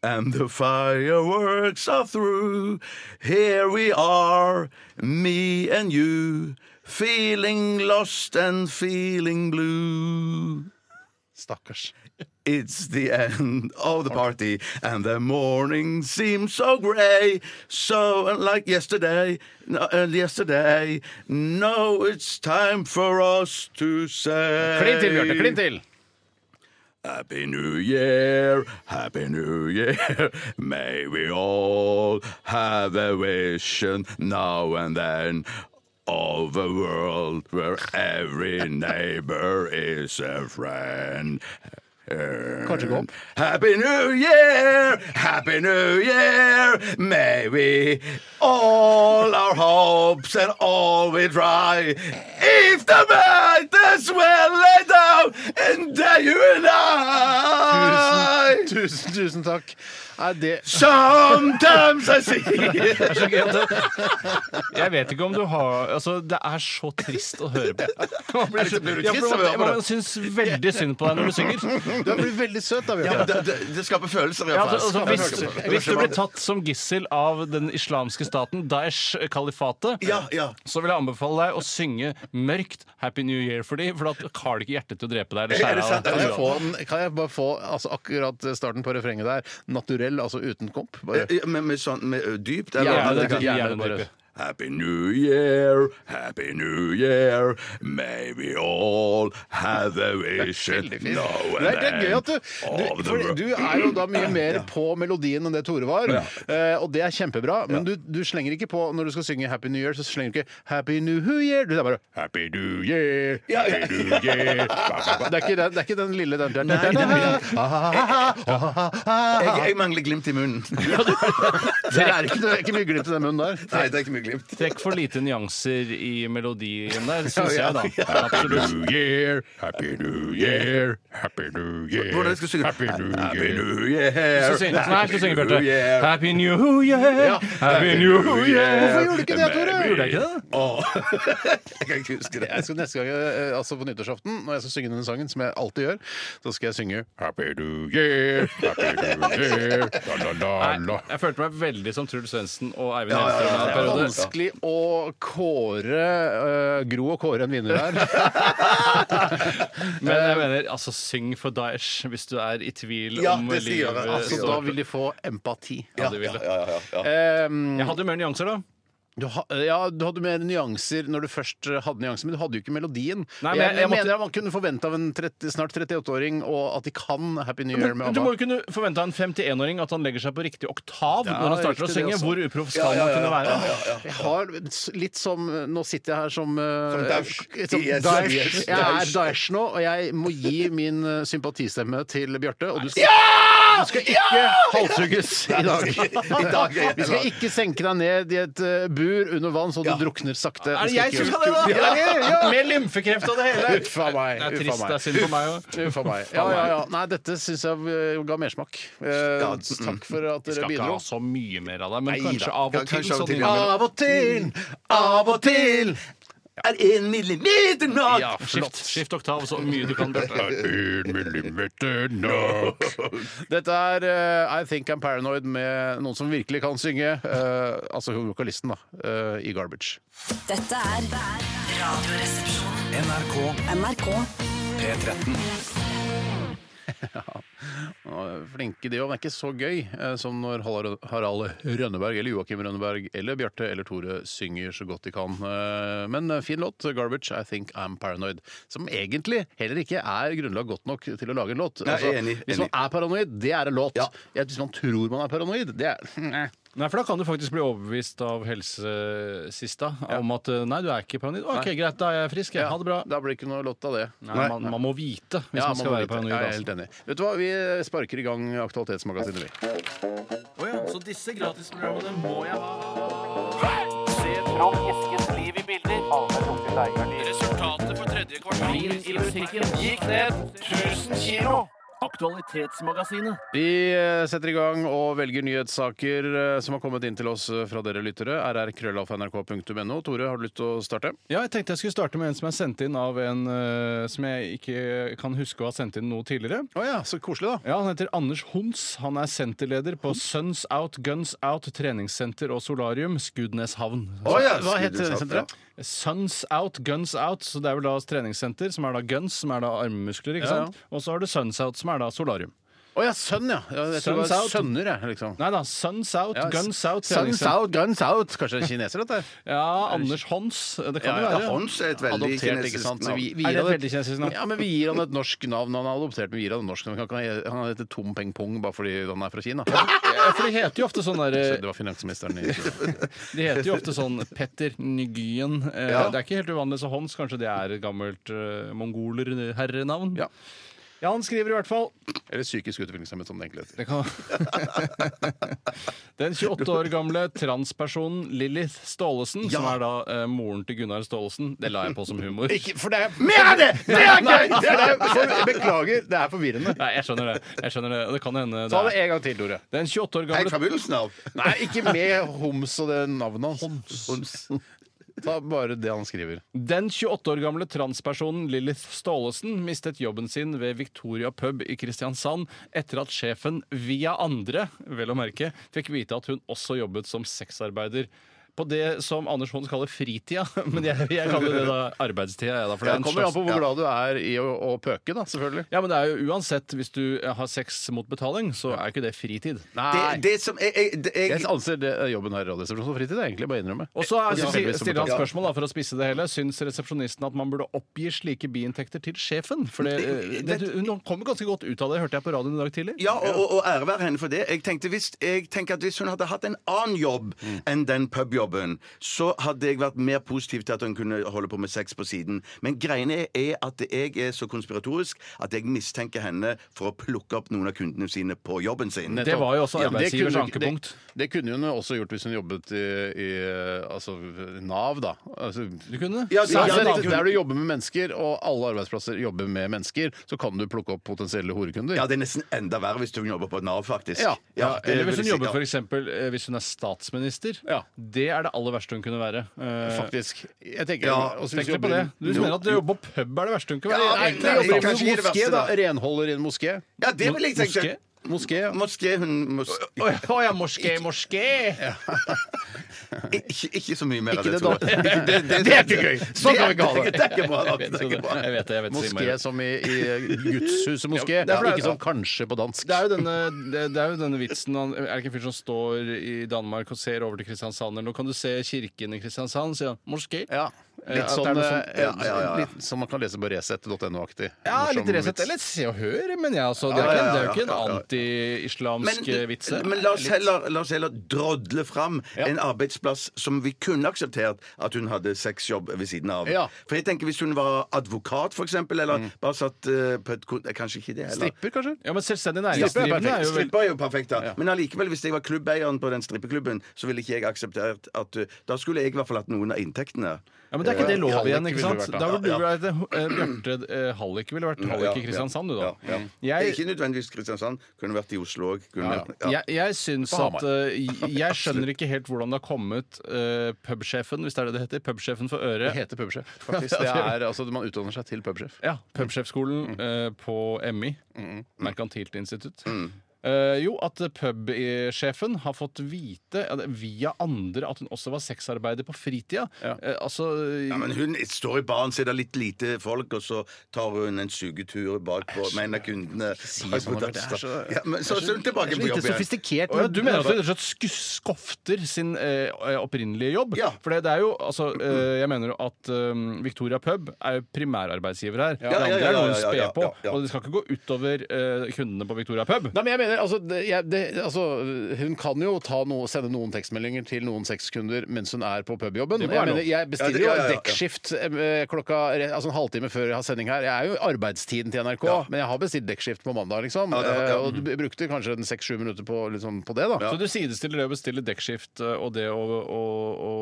And the fireworks are through. Here we are, me and you, feeling lost and feeling blue.
Stakkars.
It's the end of the party, and the morning seems so grey. So unlike yesterday, no, uh, yesterday, no, it's time for us to say.
Klin til, Bjarte. Klin til!
Happy New Year, Happy New Year. May we all have a vision now and then of a world where every neighbor is a friend.
Kanskje gå opp.
Happy New Year, Happy New Year. May we all our hopes and all we try. If the mountains were laid down love and that you and I.
Tusen, tusen, tusen takk. Nei, det
Sometimes I see.
Jeg vet ikke om du har Altså, det er så trist å høre på. Man blir, så-
blir du
Ja,
trist
for
av å høre på
man,
det?
man syns veldig synd på deg når du synger.
Du har blitt veldig søt, da, Bjarte.
Det, det, det skaper følelser, i
Ja,
hvert fall.
altså, altså,
Det skaper
hvis,
følelser.
hvis du blir tatt som gissel av den islamske staten, Daesh-kalifatet,
Ja, ja.
så vil jeg anbefale deg å synge mørkt 'Happy New Year' for dem, for da har de ikke hjerte til å drepe deg. Eller
Er det
skjære
sant?
av
Kan jeg,
deg.
få, den- kan jeg bare få altså, akkurat starten på refrenget der? Naturell, altså uten komp? Bare.
Ja, Med, med sånn med, ø, dypt? Eller?
Ja, det
kan-
kan
gjerne
gjerne
bare-
bare-
Happy New Year, Happy New Year. May we all have a wish and
Veldig fint.
know
Det er, det er gøy at du,
of
du,
the
for
world.
du er jo da mye mer på melodien enn det Tore var, eh, og det er kjempebra. Men du, du slenger ikke på når du skal synge Happy New Year, så slenger du ikke Happy New Year. Du er bare Happy New Year, Happy New Year. Ba, ba, ba. Det er ikke den, det er ikke den lille den den- den- den-
Jeg, jeg mangler glimt i munnen.
Det er ikke, det er ikke mye glimt i den munnen der.
Nei, det er ikke mye glimt.
Trekk for lite nyanser i melodien der, syns
Ja,
jeg,
ja.
da. Absolutt.
Year, Happy New Year, Happy New Year.
Hvordan skal jeg synge?
Happy New
Happy
Year.
New Year.
Så synger- Nei, så
Happy
synger
New
Bjarte.
Year.
Happy New Year, Happy New Year.
Hvorfor gjorde du ikke det, Tore?
Baby.
Gjorde
jeg ikke det?
Åh. Jeg kan ikke huske det.
Jeg skal neste gang, eh, altså på nyttårsaften, når jeg skal synge denne sangen, som jeg alltid gjør, så skal jeg synge Happy New Year, Happy New Year, la la la la.
Nei, jeg følte meg veldig som Truls Svendsen og Eivind
Ja, ja,
Hellstrøm. i
ja,
en
Det
ja.
er
periode.
vanskelig å kåre eh, Gro og Kåre en vinner her.
Men jeg mener, altså, syng for Daesh hvis du er i tvil
Ja,
om
det skal jeg
livet.
gjøre. Altså,
Så
står
da
på.
vil de få empati. Eh,
Ja, det vil jeg.
Ja, ja, ja.
Em,
Jeg hadde jo mer nyanser, da.
du, ha, eh, ja, du hadde mer nyanser når du først eh, hadde nyanser, men du hadde jo ikke melodien.
Nei, men
jeg,
jeg-
jeg,
jeg måtte-
mener at man kunne forvente av en 30, snart 38-åring og at de kan Happy New Year med
Du
ABBA.
må jo kunne forvente av en 51-åring at han legger seg på riktig oktav
Ja,
når han starter å
riktig det
synge.
også.
Hvor uproff skal man kunne være?
Jeg har litt som Nå sitter jeg her som eh,
Som Daesh.
Som
Yes,
Daesh.
yes,
Jeg er
Daesh.
Daesh nå, og jeg må gi min eh, sympatistemme til Bjarte. Og du skal
Ja!
ikke halshugges i dag.
I dag er
Vi skal ikke senke deg ned i et eh, bur under vann så du
Ja.
drukner sakte.
Er
skal
det jeg som
ikke-
skal det, da? Med lymfekreft og det hele.
Uffa meg.
Det
Uffa
er trist. Det
meg.
er synd på meg òg.
Uffa meg. Ja, ja, ja. Nei, dette syns jeg eh, ga mersmak. Eh, Takk for at dere
Skal ikke
bidro.
ha så mye mer av deg, men
Neida.
kanskje av
Ja,
og til.
kanskje av og
Sånn
til, ja.
innimellom.
og til, av og til.
Er en millimeter nok?
Ja, skift, skift oktav så mye du kan. Bjarte.
En millimeter nok. Dette er eh, I Think I'm Paranoid med noen som virkelig kan synge. eh, altså hun vokalisten, da. eh, I Garbage.
Dette er Radioresepsjonen.
NRK
NRK.
P13.
Og Flinke de òg, men det er ikke så gøy eh, som når Harald Harald Rønneberg eller Joakim Rønneberg eller Bjarte eller Tore synger så godt de kan. Eh, Men eh, fin låt, 'Garbage I Think I'm Paranoid', som egentlig heller ikke er grunnlag godt nok til å lage en låt. Altså,
Nei, enig,
hvis man er paranoid, det er en låt.
Ja.
Ja, Hvis man tror man er paranoid, det er
Nei, for Da kan du faktisk bli overbevist av helsesista om at eh, nei, du er ikke paranoid. OK, greit, da er jeg frisk. Jeg. Ha det bra.
Da blir det ikke noe låt av det.
Nei, Man, man må vite hvis
Ja,
man skal
må
være
vite.
paranoid.
Ja, Jeg er
altså.
helt enig. Vet du hva, Vi sparker i gang Aktualitetsmagasinet, vi.
Så disse gratisprogrammene må jeg ha. Resultatet for tredje kvartal i musikken gikk ned 1000 kilo. Aktualitetsmagasinet.
Vi eh, setter i gang og velger nyhetssaker eh, som har kommet inn til oss eh, fra dere lyttere. rrkrøllalfa.nrk.no. Tore, har du lyst til å starte?
Ja, jeg tenkte jeg skulle starte med en som er sendt inn av en eh, som jeg ikke kan huske å ha sendt inn noe tidligere.
Å ja, så koselig, da.
Ja, Han heter Anders Hons. Han er senterleder på Suns Out Guns Out treningssenter og solarium, Skudeneshavn.
Å, ja,
Hva het
skulle du sagt,
senteret?
Suns Out Guns Out, så det er vel da treningssenter, som er da guns, som er da armmuskler, ikke
Ja, ja.
sant? Og så har du Suns Out, som er da solarium.
Å ja, sønn, ja. ja jeg tror det
Sønns
var
out.
sønner, jeg, liksom.
Nei da, Suns Out,
Ja,
Guns
Sønns
Out treningssenter.
out, guns out. Kanskje det er kineser, dette? her?
Ja, Anders Hons. Det
Ja,
kan det
ja,
være.
Hans er et veldig
Adoptert, ikke sant? Så vi, vi gir
Er det et
han et,
veldig kinesisk navn?
ja, men vi gir han et norsk navn. Han er adoptert, men vi gir han et norsk navn. Han kan- Han heter Tom Peng Pong bare fordi han er fra Kina.
Ja, for de heter jo ofte sånn
Så
der,
Det var finansministeren i
De heter jo ofte sånn Petter Nygyen. Eh, Det er ikke helt uvanlig, så Hons kanskje det er et gammelt uh, eh, mongolerherrenavn.
Ja.
Ja, han skriver i hvert fall
Eller psykisk utviklingshemmet, som det egentlig heter.
det kan... Den 28 år gamle transpersonen Lilith Staalesen, som er da eh, moren til Gunnar Staalesen Det la jeg på som humor.
Ikke, for det er Mer det! Det er gøy! Det er, for, beklager, det er forvirrende.
Nei, jeg skjønner det. Jeg skjønner det. og Det kan hende
Ta det
det er.
en gang til, Tore.
Den 28 år
Helt
gamle
fra begynnelsen av.
Nei, ikke med Homs og det navnet hans. Ta bare det han skriver.
Den 28 år gamle transpersonen Lilith Staalesen mistet jobben sin ved Victoria pub i Kristiansand etter at sjefen via andre, vel å merke, fikk vite at hun også jobbet som sexarbeider. På det som Anders Håns kaller fritida, men jeg, jeg kaller det da arbeidstida. Jeg da, for
Det
det er en
kommer an
slags...
på hvor glad du er i å, å pøke, da, selvfølgelig.
Ja, men det er jo uansett, hvis du eh, har sex mot betaling, så er jo ikke det fritid.
Nei.
Det, det som jeg, jeg, det, jeg,
Jeg anser det, jobben her i Radioresepsjonen som fritid, det er egentlig bare å innrømme.
Og så er-
Ja.
så sier- stiller han spørsmål da, for å spisse det hele. Syns resepsjonisten at man burde oppgi slike biinntekter til sjefen? For det, eh, det, du- hun kommer ganske godt ut av det, hørte jeg på radioen i dag tidlig.
Ja, og, og, og ære være henne for det. Jeg, tenkte, hvis, jeg tenker at Hvis hun hadde hatt en annen jobb
Mm.
enn den pubjobben, så hadde jeg vært mer positiv til at hun kunne holde på med sex på siden. Men greiene er- er at jeg er så konspiratorisk at jeg mistenker henne for å plukke opp noen av kundene sine på jobben sin.
Det var jo også
Ja, det
arbeidsgivers
kunne-
ankepunkt.
Det, det kunne hun jo også gjort hvis hun jobbet i, i altså, Nav, da. Altså,
Du kunne?
Ja,
Så,
det- ja, det-
der du jobber med mennesker, og alle arbeidsplasser jobber med mennesker, så kan du plukke opp potensielle horekunder.
ja, det er nesten enda verre hvis hun jobber på et Nav, faktisk.
Ja.
det
Eller
vil
hvis hun
jeg si,
jobber
ja.
for eksempel, eh, hvis hun er statsminister.
Ja.
Det er det aller verste hun kunne være. Eh,
Faktisk. Jeg tenker,
Ja,
og så hvis
Tenk litt på
jobber-
det. Du mener at det å jobbe på pub er det verste hun kunne være?
Ja,
Nei,
Egentlig
det
er det
jobber
sant.
kanskje
i
ikke
en
det
moské,
verste,
da.
da.
Renholder i en moské.
Ja, det vil jeg tenke.
Moské?
Moské, ja.
Moské, hun moské.
Å ja, å ja, moské, moské!
Ikke, ikke så mye mer av
Ikke
det,
det,
tror
da.
jeg.
Det er ikke gøy! Sånn kan vi ikke ha det. sånn
Det er ikke bra nok.
Jeg
Det er
vet
ikke bra.
det. Jeg vet det. Jeg vet det.
Moské som i, i gudshuset moské,
Ja, for det er-
ikke som kanskje på dansk.
Det er, jo denne, det, det er jo denne vitsen han, Er det ikke en fyr som står i Danmark og ser over til Kristiansand? Eller nå kan du se kirken i Kristiansand, sier han. Moské.
Ja. Litt
at det
sånn,
er noe
eh,
sånn-
ja,
ja, ja, ja.
Litt, som man kan lese på Resett.no-aktig.
Ja, litt
Morsom
Resett.
vits.
Eller Se og Hør, men jeg altså. Det er
Ja,
jo
ja, ja,
ikke, det er jo ikke
ja,
en
ja, ja.
anti-islamsk eh, vits. her.
men la, oss heller, la oss heller drodle fram en arbeidsplass som vi kunne akseptert at hun hadde sexjobb ved siden av.
Ja.
For jeg tenker Hvis hun var advokat, for eksempel,
Mm.
eller bare satt eh, på et kon- eh, Kanskje ikke det heller.
Stripper, kanskje?
Ja, men selvstendig
Stripper er
næringsdrivende er jo vel
Stripper er jo perfekt, da. Men allikevel, hvis jeg var klubbeieren på den strippeklubben, så ville ikke jeg akseptert at eh, Da skulle jeg i hvert fall hatt noen av inntektene.
ja, men Det er ikke det lov
Hallik
igjen. ikke
ville
sant?
vært da.
Da ville du vært eh, Bjarte eh, Hallik. Ville vært Hallik i Kristiansand, du, da.
Mm, Ja, ja.
Jeg-
Ikke nødvendigvis Kristiansand. Kunne vært i Oslo òg.
Jeg, jeg syns
På
at
Hamar.
eh, jeg- Jeg skjønner ikke helt hvordan det har kommet eh, pubsjefen, hvis det er det det heter, pubsjefen for
Det
øret,
heter pubsjef, faktisk. Det er, Mm. altså, man utdanner seg til pubsjef.
Ja, Pubsjefskolen eh, på MI,
Mm,
Merkantilt institutt. Eh, jo, at pubsjefen har fått vite ja, det- via andre at hun også var sexarbeider på fritida. Eh, altså
Ja, men hun står i baren, så er det litt lite folk, og så tar hun en sugetur bakpå med en av kundene. Bak på
sånn, Albert, det
dass,
er
da.
så-
Ja, men så er hun tilbake på
Lite
jobb igjen.
sofistikert.
Å ja, du mener at hun rett og slett skus- skofter sin eh, opprinnelige jobb?
Ja.
For det, det er jo, altså, eh, Jeg mener jo at eh, Victoria Pub er jo primærarbeidsgiver her. Det
ja,
andre
ja,
er noe
ja,
hun
ja, ja,
sper på.
ja, ja.
Og det skal ikke gå utover eh, kundene på Victoria Pub.
Nei, men jeg mener, altså, det, jeg, det, altså Hun kan jo ta noe, sende noen tekstmeldinger til noen sexkunder mens hun er på pubjobben.
Det må
Jeg,
være lov.
mener, jeg bestiller
Ja, det- ja,
jo
ja, ja.
dekkskift eh, klokka altså en halvtime før jeg har sending her. Jeg er jo i arbeidstiden til NRK, men jeg har bestilt dekkskift på mandag, liksom.
Ja, det har- ja.
Eh, Og du brukte kanskje en seks-sju minutter på, liksom, på det, da.
Så du sidestiller det å bestille dekkskift eh, og det å, å, å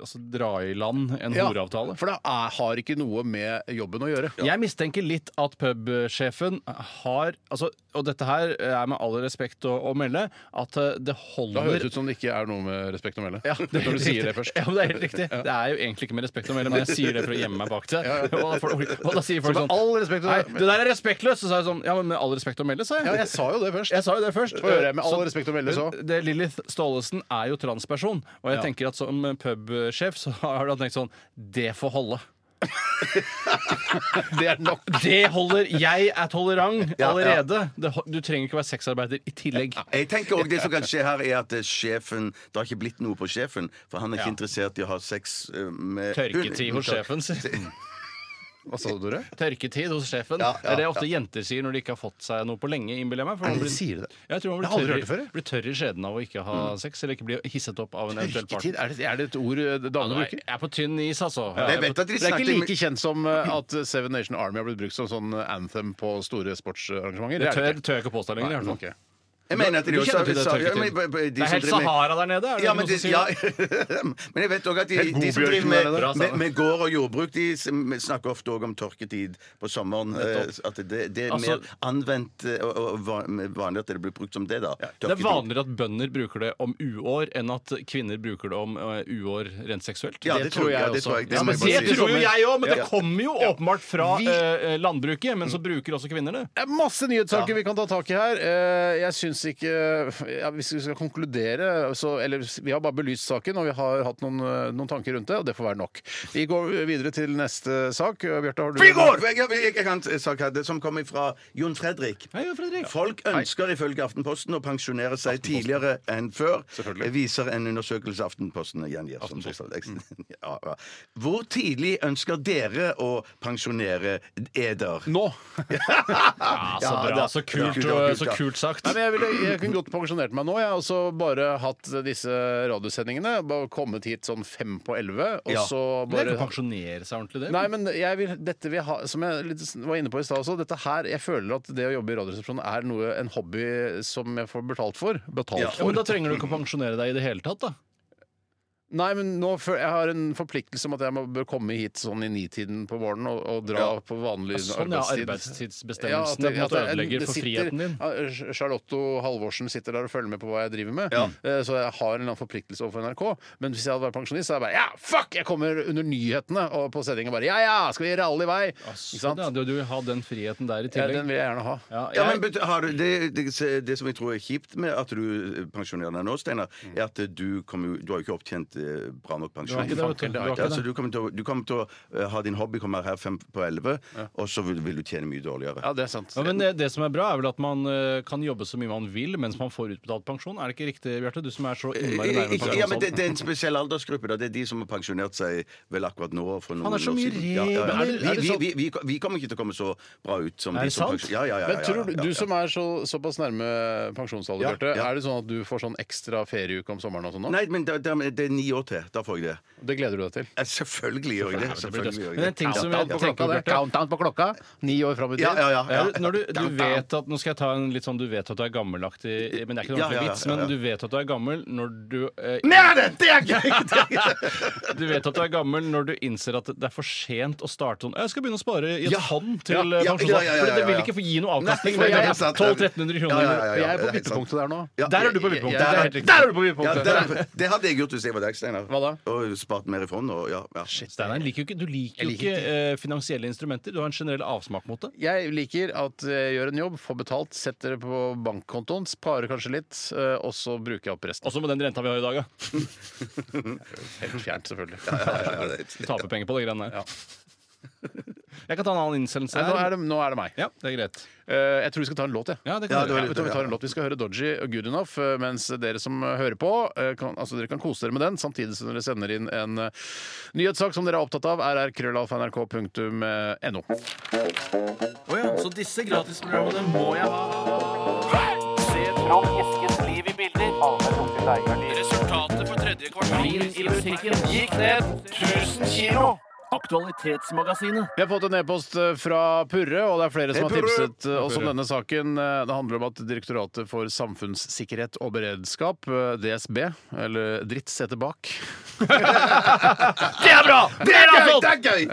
altså, dra i land en
Ja,
horeavtale?
For det er, har ikke noe med jobben å gjøre.
Jeg mistenker litt at pubsjefen har altså, Og dette her er med all respekt å, å melde at eh, det
Da høres
holder
det ut som det ikke er noe med respekt å melde.
Ja, det
når
er helt
du sier
riktig.
det først.
Ja, men det er helt riktig. Det er jo egentlig ikke med respekt å melde, men jeg sier det for å gjemme meg bak det. Og, da får- og da sier folk
Så med
sånn
all respekt å
Nei,
melde-
det der er respektløst! Så sa jeg sånn Ja, men med all respekt å melde, sa jeg.
Ja, jeg sa jo det først.
Jeg sa jo det først.
Få høre, med all
Så-
respekt å melde, så.
Det, det Lilith Staalesen er jo transperson, og jeg tenker at som pubsjef så har han tenkt sånn Det får holde.
Det er nok.
Det holder. Jeg er tolerant allerede. Det, ho- du trenger ikke være sexarbeider i tillegg.
Jeg tenker også Det som kan skje her, er at eh, sjefen Det har ikke blitt noe på sjefen, for han er ikke interessert i å ha sex eh, med
Tørketid hos
Hun-
sjefen, sier
Hva sa du, Tore?
Tørketid hos sjefen.
Ja, ja,
det er det ofte jenter sier når de ikke har fått seg noe på lenge, innbiller jeg meg. for
Er
man
det-
blir-
sier de det?
Ja, Jeg tror man
Jeg har aldri
blir
hørt
tørr,
det før,
i-
jeg.
blir tørr i skjeden av å ikke ha sex, eller ikke bli hisset opp av en eventuell
Tørketid?
partner.
Er det, er det et ord eh, damene
Nei,
bruker?
Jeg er på tynn is, altså.
Ja,
Jeg
jeg
er
vet
på-
at de det er ikke like kjent som eh, at Seven Nation Army har blitt brukt som sånn anthem på store sportsarrangementer.
Det
er
tør,
ikke.
tør jeg ikke påstå lenger. i hvert fall.
Nei, ok.
Jeg mener at de
Du
også
kjenner til det
sa- ja,
tørketid.
men b- b- de
Det er
som
helt
driver med-
Sahara der nede, er det
ja,
noen
men, de,
som sier?
ja, men jeg vet òg at de,
Helt
de som
godbjørken er
driver
det
med,
da.
med, med gård og jordbruk, de sn- snakker ofte òg om tørketid på sommeren. eh, At det, det er
Altså-
mer anvendt eh, og, og van- vanlig at det blir brukt som det, da.
Det er vanligere at bønder bruker det om uår, enn at kvinner bruker det om eh, uår rent seksuelt.
Ja, det, tror jeg.
også.
Det tror jeg,
Ja,
må
men
jeg bare
det
si.
tror jeg
òg, men det kommer jo åpenbart fra
Vi-
eh, eh, landbruket. Men så bruker også kvinner det.
Det er masse nyhetssaker vi kan ta tak i her. Eh, Jeg syns ikke ja, Hvis vi skal konkludere, så Eller vi har bare belyst saken, og vi har hatt noen, eh, noen tanker rundt det, og det får være nok. Vi går videre til neste sak. Eh, Bjarte, har du
Frigård! Jeg, jeg, jeg, jeg kan en sak her, det som kommer fra Jon Fredrik.
Hei, Jon Fredrik.
Folk ønsker ifølge Aftenposten å pensjonere seg tidligere enn før,
Selvfølgelig.
viser en undersøkelse Aftenposten gjengir. som
Mm.
siste- Ja, ja. Hvor tidlig ønsker dere å pensjonere eder?
Nå!
Ja,
så bra, så kult, og- så kult
sagt.
Nei, men jeg, ville, jeg kunne godt pensjonert meg nå, jeg. Og så bare hatt disse radiosendingene. Bare kommet hit sånn fem på elleve, og
Ja.
så
Det er
bare
ikke å pensjonere seg ordentlig, det.
Nei, men jeg vil, dette vil ha, som jeg litt var inne på i stad også, dette her, jeg føler at det å jobbe i Radioresepsjonen er noe, en hobby som jeg får betalt for. Betalt
ja, men da trenger du ikke å pensjonere deg i det hele tatt, da.
Nei, men nå føl- jeg har en forpliktelse om at jeg må, bør komme hit sånn i nitiden på morgenen og, og dra på vanlig
Sånn ja,
arbeidstid. Ja, at
arbeidstidsbestemmelsene
det-
på en
at
måte
det-
ødelegger
det
for
sitter-
friheten din.
ja, Ch- Charlotte Halvorsen sitter der og følger med på hva jeg driver med. Eh, Så jeg har en eller annen forpliktelse overfor NRK. Men hvis jeg hadde vært pensjonist, så hadde jeg bare Ja, fuck! Jeg kommer under nyhetene og på sendingen bare Ja, ja! Skal vi ralle i vei? Ikke sant?
Sånn, ja, du, du vil ha den friheten
Ja,
der i
den
tillegg.
vil jeg gjerne ha.
Ja,
Ja,
jeg-
men bet- har du, det, det, se, det som jeg tror er kjipt med at du pensjonerer deg nå, Steinar, er at du, kommer jo- du har jo ikke opptjent eh, bra nok pensjon.
Mm. Du har ikke det, vet du. Du har ikke
Altså,
det.
du kommer til å, du kommer til å eh, ha din hobby kommer her fem på elleve, og så vil, vil du tjene mye dårligere.
Ja, det er sant.
Ja, men det, det som er bra, er vel at man eh, kan jobbe så mye man vil mens man får utbetalt pensjon. Er det ikke riktig, Bjarte? Du som er så innmari nærme
Eh, Ikke, ja, men det,
pensjonsalderen.
det er en spesiell aldersgruppe. Da. Det er de som har pensjonert seg vel akkurat nå. For noen
er så
år
mye
siden. Ja, ja, ja.
regler. Er det
Vi,
sånn-
vi, vi, vi kommer ikke til å komme så bra ut som
Er
de
det
som
sant?
pensjon- Ja, ja, ja, ja,
Men
ja,
tror du,
ja,
du
ja.
som er så, såpass nærme pensjonsalder,
Ja,
Bjarte,
ja.
er det sånn at du får sånn ekstra ferieuke om sommeren og sånn nå?
Nei, men det, det, det er ni år til. Da får jeg det.
Det gleder du deg til?
Ja, selvfølgelig gjør jeg det. Selvfølgelig gjør
Men
jeg
en ting som jeg
på
tenker
klokka, det.
Bjarte,
Countdown på klokka. Ni år fram i tid.
Ja, ja, ja, ja.
Er du- Når du, du vet at, nå skal jeg ta en litt sånn du vet at du er gammelaktig Men det er ikke
Ja, ja, ja,
noe ordentlig
ja,
vits,
ja.
men du vet at du er gammel når du eh,
Mer det! Det er greit!
Du vet at du er gammel når du innser at det er for sent å starte sånn Jeg skal begynne å spare i et
Ja.
fond
Ja,
til
ja, ja,
eh,
ja,
pensjonsfond.
ja, ja,
For det vil
ja.
ikke få gi noe avkastning.
Nei,
Det
nei,
er
det er sant.
1200-1300
Ja, ja,
kroner.
ja,
Jeg
ja.
er på
det er sant.
vippepunktet der nå.
Ja,
Der er du
jeg- jeg-
på
jeg-
vippepunktet. Der,
jeg-
er- der er du på
Ja,
vippepunktet!
det, er- det hadde jeg gjort hvis jeg var deg, Steinar.
Hva da?
Og spart mer i fond. Og, ja, ja.
Steinar, liker jo ikke, du liker jo
liker
ikke eh, finansielle instrumenter. Du har en generell avsmak mot det.
Jeg liker at jeg gjør en jobb, får betalt, setter det på bankkontoen, sparer kanskje litt, eh, og så bruker jeg opp resten.
Også med den renta vi har i dag, ja.
Helt fjernt, selvfølgelig.
Du taper penger på de greiene der. Jeg kan ta en annen innsendelse
Nei, nå, er
her.
det, nå er det meg.
Ja, det er greit.
Eh, Jeg tror vi skal ta en låt, jeg.
Ja, det
Ja,
kan
det var
du gjøre.
Vet du hva, Vi tar en låt. Vi skal høre Dodgy og Good Enough, eh, mens dere som hører på, eh, kan, altså dere kan kose dere med den, samtidig som dere sender inn en eh, nyhetssak som dere er opptatt av, rrkrøllalfa.nrk.no.
Så disse gratisprogrammene må jeg ha.
Resultatet på tredje kvartal i musikken gikk ned 1000 kilo. Aktualitetsmagasinet.
Vi har fått en e-post eh, fra Purre, og det er flere som har
Purre!
tipset eh, oss om denne saken. Eh, Det handler om at Direktoratet for samfunnssikkerhet og beredskap, eh, DSB, eller Dritt setter bak Det er bra!
Det er gøy! Det er gøy!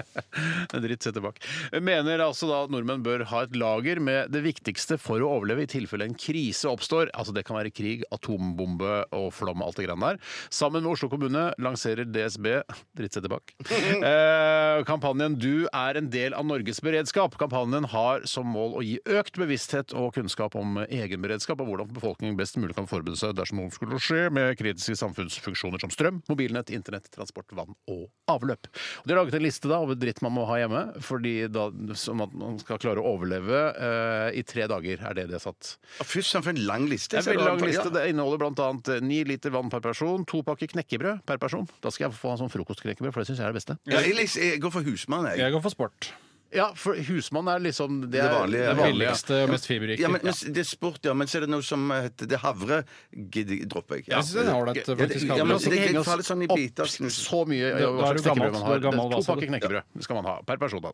Dritt setter bak. Mener altså da at nordmenn bør ha et lager med det viktigste for å overleve i tilfelle en krise oppstår. Altså det kan være krig, atombombe og flom og alt det grann der. Sammen med Oslo kommune lanserer DSB Dritt setter bak. Eh, kampanjen Du er en del av Norges beredskap. Kampanjen har som mål å gi økt bevissthet og kunnskap om egen beredskap og hvordan befolkningen best mulig kan forberede seg dersom noe skulle skje med kritiske samfunnsfunksjoner som strøm, mobilnett, internett, transport, vann og avløp. Og de har laget en liste da over dritt man må ha hjemme, fordi da, som at man skal klare å overleve eh, i tre dager, er det de har satt.
Å, Fy søren, for en lang liste.
Det er en veldig lang liste.
Ja.
Det inneholder bl.a. ni liter vann per person, to pakker knekkebrød per person. Da skal jeg få ha sånn frokostknekkebrød, for det syns jeg er det beste.
Ja, jeg, lis- jeg går for husmann, jeg.
Jeg går for sport.
Ja, for husmann er liksom Det,
Det
er,
vanlige,
det
ja.
vanlige.
Billigste og mest fiberriktige.
Ja, men, men Det er sport, ja. Men så er det noe som eh, heter det havre. Gidder dropper jeg. Ja.
Jeg synes den er ålreit,
Ja, det-
faktisk,
Ja,
havre.
men
Altså,
det,
henge
det
oss
faller sånn i
opp
biter. snus.
Så mye
Da-
ja,
da
hva
er du
slags knekkebrød man
gammel, da
har.
er du gammel,
Det er to
altså? hva sa du?
pakker knekkebrød skal man ha per person. da.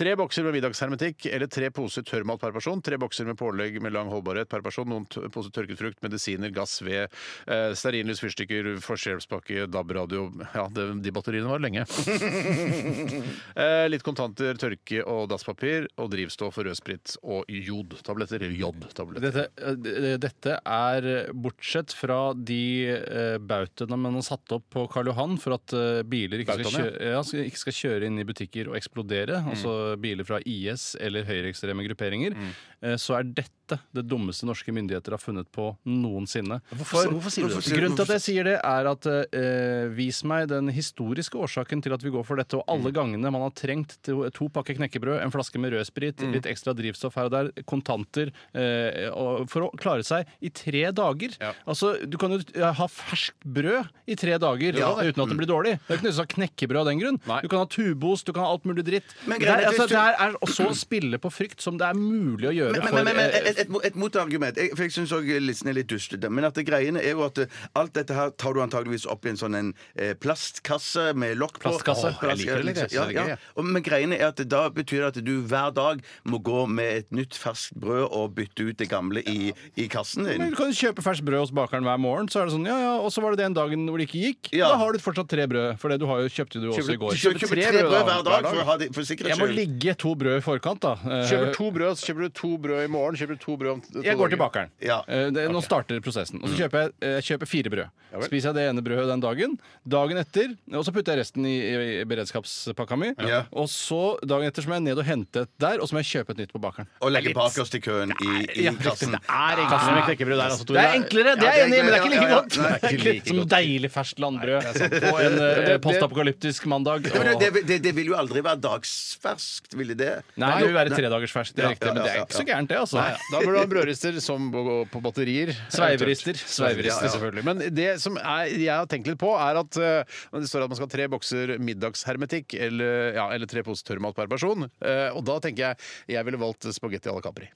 Tre bokser med middagshermetikk eller tre poser tørrmat per person. Tre bokser med pålegg med lang holdbarhet per person. Noen t- poser tørket frukt, medisiner, gass, ved, eh, stearinlys, fyrstikker, forstehjelpspakke, DAB-radio Ja, det, de batteriene var lenge. eh, litt kontanter, tørke og dasspapir, og drivstoff og rødsprit og jodtabletter. Eller jodtabletter.
Dette, eh, dette er eh, bortsett fra de eh, bautaene man har satt opp på Karl Johan for at eh, biler ikke skal,
Bautaene,
kjøre, ja, skal, ikke skal kjøre inn i butikker og eksplodere, altså biler fra IS eller høyreekstreme grupperinger, eh, så er dette det dummeste norske myndigheter har funnet på noensinne.
Hvorfor- hvorfor sier du det?
Grunnen til at jeg sier det, er at eh, vis meg den historiske årsaken til at vi går for dette, og
Mm.
alle gangene man har trengt to, to pakker knekkebrød, en flaske med rødsprit,
Mm.
litt ekstra drivstoff her og der, kontanter, eh, og, for å klare seg i tre dager.
Ja.
Altså, du kan jo eh, ha ferskt brød i tre dager uten at det blir dårlig. Det er ikke nødvendigvis å ha knekkebrød av den grunn.
Nei.
Du kan ha tubost, du kan ha alt mulig dritt.
Men
det,
greia
er,
er at
altså,
hvis du-
det her er også å spille på frykt som det er mulig å gjøre
Men,
for
men, men, men
eh,
et, et, et motargument. Jeg, for jeg syns òg listen er litt dustete. Men at det greiene er jo at eh, alt dette her tar du antageligvis opp i en sånn en eh, plastkasse med lokk på.
Plastkasse.
Åh, jeg liker det litt, jeg synes
det er
Ja,
gøy,
ja.
jeg.
Og, men greiene er at det- da betyr det at du hver dag må gå med et nytt ferskt brød og bytte ut det gamle i, i kassen
Men
din.
du kan jo kjøpe ferskt brød hos bakeren hver morgen. Så er det sånn, ja, ja, Og så var det den dagen hvor det ikke gikk.
Ja.
Da har du fortsatt tre brød. For det du har jo kjøpte du også i
Du
går.
kjøper
Kjøper
tre
tre
brød
brød
hver
hver
dag
dag.
for å ha det for sikkerhets
Jeg må
skyld.
ligge to brød i forkant, da. Eh,
Kjøper to brød, så kjøper du to brød i morgen, kjøper du to brød om t- to
jeg går til
dager.
bakeren.
Ja. Mm.
Eh, det, Nå starter prosessen. Og så kjøper jeg, eh, jeg kjøper fire brød.
vel.
Spiser jeg det ene brødet den dagen. Dagen etter Og så putter jeg resten i, i, i beredskapspakka mi.
Ja.
Og så dagen etter så må jeg ned og hente et der, og så må jeg kjøpe et nytt på bakeren.
Og legge bakerst i køen i, i
Ja,
kassen.
riktig. Det er enklere med knekkebrød der, altså, Tore. Det er enklere, det
Ja,
er jeg enig i, men det er ikke
enklere,
like
ja, ja,
godt.
ja. Nei,
Det er ikke like Som deilig ferskt landbrød på en eh,
det-
postapokalyptisk mandag.
Men
og-
det, det, det, det vil jo aldri være dagsferskt, ville det?
Nei, det vil være tredagers ferskt, det er
Ja,
riktig.
ja,
Men det
ja,
er
ja,
ikke så gærent, det, altså.
Da burde du ha brødrister som går på batterier.
Sveiverister.
Sveiverister,
Sveiverister,
selvfølgelig. Men det som er, jeg har tenkt litt på, er at eh, det står at man skal ha tre bokser middagshermetikk eller, ja, eller tre poser tørrmat per person. Eh, og da tenker jeg jeg ville valgt spagetti à la Capri.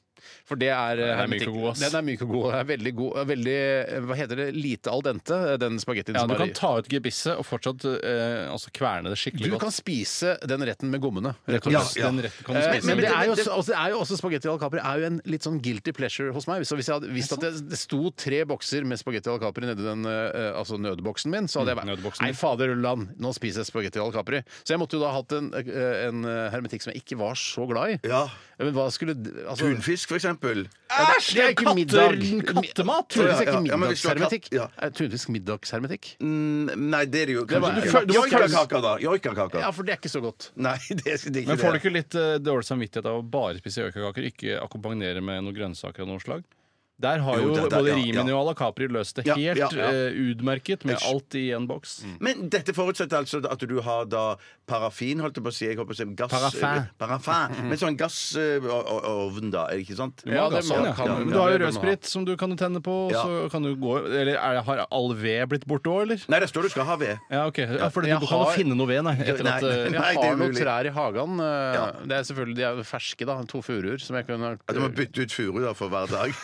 For det er, eh,
Den er myk
hermetikk.
og god, ass.
Den er myk og god. Den er veldig god. Veldig, eh, hva heter det, lite al dente, eh, den spagettien
Ja,
som
du
er
kan
i.
ta ut gebisset og fortsatt eh, altså kverne
Du
det skikkelig
kan
godt.
spise den retten med gommene. rett og
Ja,
slett.
Den retten kan du
Eh,
spise.
Men
Men
det
det-
er jo også, altså, det er jo også spagetti al capri er jo en litt sånn guilty pleasure hos meg. Så hvis jeg hadde visst at det, det sto tre bokser med spagetti al capri nedi den eh, altså nødboksen min, så hadde jeg
Mm,
vært
nødboksen.
Nei, fader land, nå spiser jeg spagetti al capri. Så jeg måtte jo da ha hatt en, eh, en eh, hermetikk som jeg ikke var så glad i.
Ja.
Men hva skulle d- altså,
Tunfisk, for eksempel.
Æsj!
Det er ikke middag.
Kattemat!
Tunfisk er
Ja,
ikke
ja, men hvis du har katt-
middagshermetikk.
ja.
Er Tunfisk middagshermetikk?
Mm, Nei, det er det jo kanskje
var-
ikke.
du var-
Joikakaker, da. Joikakaker.
Ja, for det er ikke så godt.
Nei, det er det er ikke
Men får du
det.
ikke litt eh, dårlig samvittighet av å bare spise økekaker, ikke akkompagnere med noen grønnsaker av noe slag? Der har
Jo,
jo,
det- det-
både
ja,
Rimini
ja.
og Ala Capri løst det
Ja,
helt
ja, ja. Mm.
eh, utmerket, med alt i en boks.
Men dette forutsetter altså at du har da parafin, holdt jeg på å si. Jeg holdt på å si gass,
Paraffin. Mm.
Paraffin. Men sånn gassovn, da, er det ikke sant?
Ja, det
sånn,
man
ja.
kan.
Ja,
Men
ja,
du har jo
det bør man ha.
rødsprit som du kan tenne på, og
Ja.
så kan du gå Eller er, har all ved blitt borte òg, eller?
Nei, det står du skal ha ved.
Ja, OK. Ja, for du
Jeg
kan jo
har-
finne noe ved, nei. Etter
Nei,
at,
nei,
eh,
Men
nei.
jeg
det
har
er
noen
mulig.
trær i hagen. eh,
Ja.
Det er selvfølgelig, De er jo ferske, da. To furuer som jeg kunne
Ja, du må bytte ut furu da for hver dag.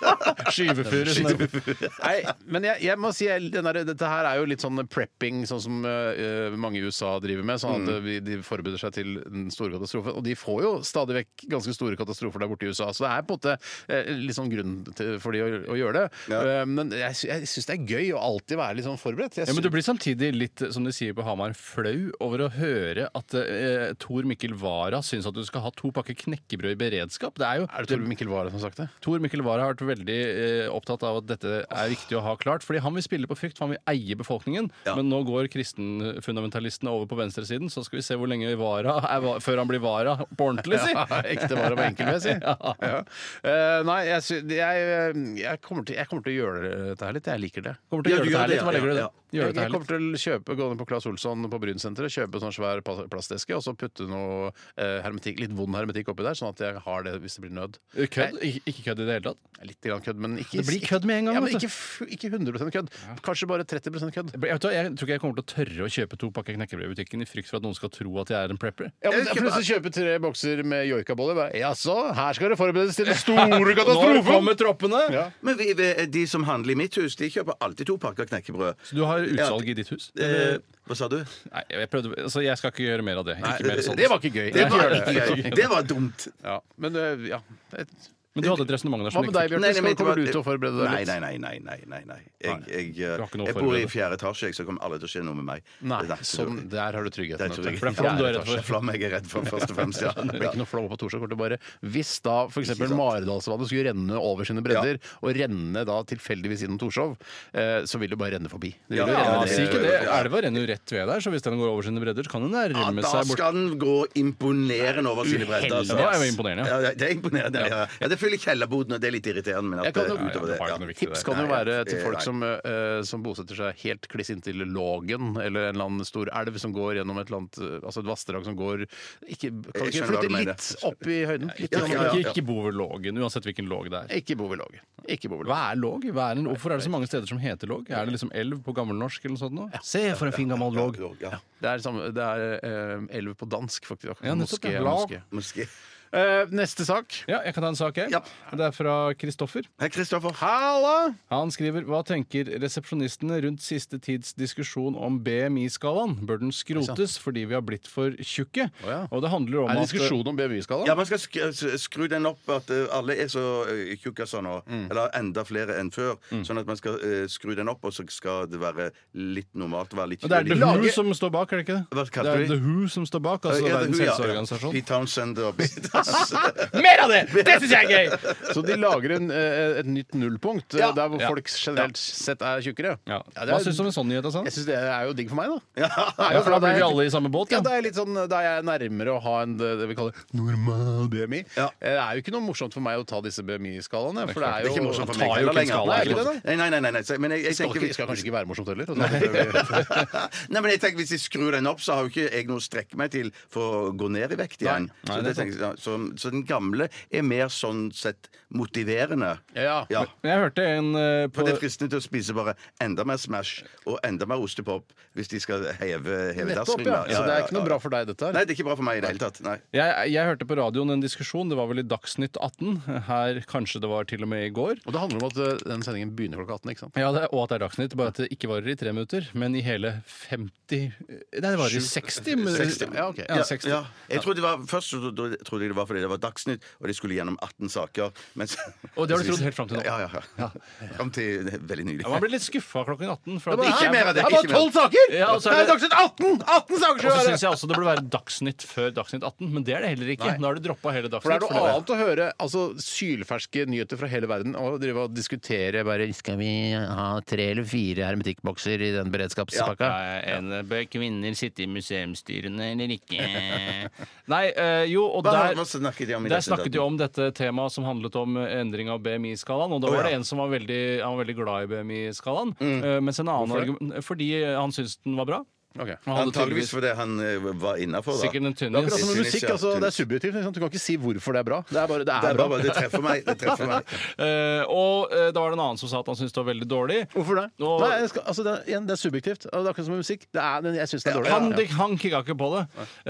Skyvefuru. sånn der.
Nei, men jeg, jeg må si jeg- den der, dette her er jo litt sånn prepping, sånn som eh, mange i USA driver med. Sånn
Mm.
at vi, de forbereder seg til den store katastrofen. Og de får jo stadig vekk ganske store katastrofer der borte i USA, så det er på en måte eh, litt sånn grunn til, for de å, å gjøre det.
Ja.
Eh, men jeg, sy- jeg syns det er gøy å alltid være litt sånn forberedt. Jeg
Ja, men
sy-
du blir samtidig litt, eh, som de sier på Hamar, flau over å høre at eh, Tor Mikkel Wara syns at du skal ha to pakker knekkebrød i beredskap. Det er jo
er det Tor Mikkel Wara som har sagt det?
Tor Mikkel Wara har vært veldig eh, opptatt av at dette er viktig å ha klart. Fordi han vil spille på frykt, for han vil eie befolkningen. Men nå går kristenfundamentalistene over på venstresiden, så skal vi se hvor lenge Wara er va før han blir Wara på ordentlig, si.
Ja, ekte vara på enkel ved, si. Ja. Eh, nei, jeg, sy- jeg, jeg, kommer til, jeg kommer til å gjøre dette her litt. Jeg liker det.
Kommer
Ja, du
til å gjøre dette
gjør
her
det,
litt.
ja,
Hva legger du i det?
ja,
Gjøre
Jeg, jeg
dette her
kommer
litt.
til å kjøpe, gå ned på Claes Olsson på Brynsenteret, kjøpe en sånn svær pa- plasteske og så putte noe eh, hermetikk, litt vond hermetikk oppi der, sånn at jeg har det hvis det blir nød.
Kødd? Ik- Ikke kødd i det hele tatt?
Jeg er litt litt grann kødd, men ikke
Det blir kødd med en gang,
Ja, men
vet du.
ikke, f- ikke 100 kødd. Kanskje bare 30 kødd.
Jeg, vet, hva, jeg tror ikke jeg kommer til å tørre å kjøpe to pakker knekkebrød i butikken i frykt for at noen skal tro at jeg er en prepper.
Ja, men Plutselig kjøpe tre bokser med joikaboller. Bare, Jaså, her skal det forberedes til den store katastrofen!
troppene!
Ja.
Men vi, vi- de som handler i mitt hus, de kjøper alltid to pakker knekkebrød.
Så du har utsalg i ditt hus?
Eh, hva sa du?
Nei, jeg, prøvde, altså, jeg skal ikke gjøre mer av det. Ikke mer sånn. sånt.
Det var ikke gøy.
Det
Nei.
var, ikke gøy. det var dumt.
Ja, men øh, ja Et-
Men du hadde et resonnement
Hva
der som
med
ikke
deg,
fikk-
Bjørn?
eh, Nei, nei,
Skal,
men det
kommer
var-
du til å forberede deg
Nei,
litt?
nei, nei. nei, nei, nei, nei. Jeg, jeg,
Du har ikke noe å
jeg bor i
forberede.
fjerde etasje, jeg, så kommer alle til å skje noe med meg.
Nei,
så-
sånn, der har du
Det
tryggheten.
tror
vet
jeg.
du.
For det er flom du er
Fjerde
redd for.
etasje.
Det er flam jeg er redd for, først og fremst. Ja.
Det blir ikke noe flom på Torshov. det Bare hvis da f.eks.
Ikke sant.
Maridalsvannet skulle renne over sine bredder, og renne da tilfeldigvis innom Torshov, eh, så vil det bare renne forbi. Det vil jo
Ja,
Ja,
renne
si ikke det.
det.
Elva renner jo rett ved der, så hvis den går over sine bredder, så kan den
Ja,
nærme
da
seg bort.
skal den gå imponerende over sine bredder. altså.
Det er jo imponerende, ja.
Ja, det- det er imponerende. Ja, ja det fyller kjellerboden, og det er litt irriterende. Men
Jeg
at
kan
det,
jo-
utover
Ja,
det,
ja, det har
ja.
ikke noe viktig.
Tips kan jo
Nei,
være til
eh,
folk
nei.
som, eh, som bosetter seg helt kliss inntil Lågen, eller en eller annen stor elv som går gjennom et eller annet eh, Altså et vassdrag som går ikke, Kan
Jeg
ikke
skjønner hva du
flytte
mener.
litt opp i høyden? Litt
Ja,
grann.
ja,
Ikke, ikke bo ved Lågen, uansett hvilken låg det er.
Ikke bo ved Lågen. Ikke bo ved Lågen.
Hva er låg? Hva er en, hvorfor er det så mange steder som heter låg? Er det liksom elv på gammelnorsk eller noe sånt? nå? Se for en fin gammel låg!
Ja,
Det er, samme, det er eh, elv på dansk, faktisk.
Ja, nettopp,
Moské,
ja.
moské.
Moské.
Eh, neste sak.
Ja, jeg kan ta en sak, jeg.
Ja.
Det er fra Kristoffer.
Hei, Kristoffer.
Halla!
Han skriver Hva tenker resepsjonistene rundt siste tids diskusjon om BMI-skalaen? Bør den skrotes fordi vi har blitt for tjukke?
ja.
Og det handler om
Er det
at
diskusjon om BMI-skala?
Ja, man skal sk s- skru den opp at eh, alle er så eh, tjukke sånn nå.
Mm.
Eller enda flere enn før. Sånn at man skal eh, skru den opp, og så skal det være litt normalt. Være litt
Men det er The
litt-
Who som står bak, er det ikke det?
Hva kalte
det er
vi?
The Who som står bak, altså
Ja, det-
Verdens
ja, ja.
helseorganisasjon.
Pete Townsend og Pete-
Mer av det! Det syns jeg er gøy!
Så de lager en, eh, et nytt nullpunkt eh,
Ja.
der hvor
Ja.
folk generelt sett er tjukkere?
Ja.
Ja, det
Hva
er-
syns du om en sånn nyhet? Asan?
Jeg syns det er jo digg for meg, da.
Ja, for da blir vi alle i samme båt.
Ja,
Ja.
det er litt sånn, Da er jeg nærmere å ha en eh, det det vi kaller normal BMI.
Ja.
Eh, Det er jo ikke noe morsomt for meg å ta disse BMI-skalaene. For det er jo
Det er ikke morsomt
Han
for meg
tar jo
heller
ikke en
lenger.
skala, er det ikke det, da?
Nei, nei, nei, nei, nei. så- Men jeg, jeg
Skal,
tenker
ikke, skal kanskje ikke være morsomt heller? og så-
Nei, men jeg tenker Hvis jeg skrur den opp, så har jo ikke jeg noe å strekke meg til for å gå ned i vekt igjen.
Nei,
så,
det
det
er
tenker, jeg- så, så den gamle er mer sånn sett motiverende.
Ja.
ja.
Men jeg hørte en eh, på
For det er fristende til å spise bare enda mer Smash og enda mer ostepop hvis de skal heve, heve
Nettopp,
terskelen.
ja.
da.
Så det er ikke noe bra for deg, dette her?
Nei, det er ikke bra for meg i det hele tatt. Nei.
jeg, jeg hørte på radioen en diskusjon, det var vel i Dagsnytt 18. Her kanskje det var til og med i går.
Og det handler om at eh, den sendingen begynner klokka 18, ikke sant?
Ja, det, og at det er Dagsnytt. Bare at det ikke varer i tre minutter, men i hele 50 Nei, det varer i 60 minutter.
Ja, ok.
Ja, 60.
Ja. Jeg trodde det var, først så trodde trodde jeg det var fordi det var Dagsnytt, og de skulle gjennom 18 saker. Mens,
Og det har du trodd helt frem til nå?
Ja, ja. ja. Fram til veldig nylig.
Ja, Man blir litt skuffa klokken 18. For at
Det
det
er
ikke
ikke
er
mer av
Det
det.
er bare
ikke mer.
tolv saker!
Ja, og så er
Nei,
det-
Dagsnytt 18! 18 saker! skal
og så
det være!
syns jeg også det burde være Dagsnytt før Dagsnytt 18, men det er det heller ikke. Nå har du droppa hele Dagsnytt.
For det er noe
fordi-
annet å høre altså, sylferske nyheter fra hele verden og drive og diskutere bare Skal vi ha tre eller fire hermetikkbokser i den beredskapspakka?
Bør kvinner sitte i museumsstyrene eller ikke? Nei, eh, jo, og
Hva,
der
hva snakket de om i
Der
Dagsnytt
snakket jo om dette temaet som handlet om eh, endring av BMI-skalaen. Og da
Å,
var
ja.
det en som var veldig, han var veldig glad i BMI-skalaen. eh, Mens en annen argument, Fordi han syntes den var bra.
Ok.
Og han hadde
Antakeligvis
tydeligvis
fordi han eh, var innafor, da.
sikkert en
Det er
tynnis.
akkurat som med
Synes
musikk.
jeg
Altså,
absolutt.
det er subjektivt. ikke sant? Du kan ikke si hvorfor det er bra. Det er bare det
Det,
er
er
bra.
bare, det treffer meg. Det treffer meg.
Eh, og eh, da var det en annen som sa at han syntes det var veldig dårlig.
Hvorfor det?
Og-
Nei, jeg skal, altså, det, er, igjen, det er subjektivt. Og Det er akkurat som med musikk. Det er, men jeg syns det er dårlig.
Han,
Ja.
det, han kikka ikke på det.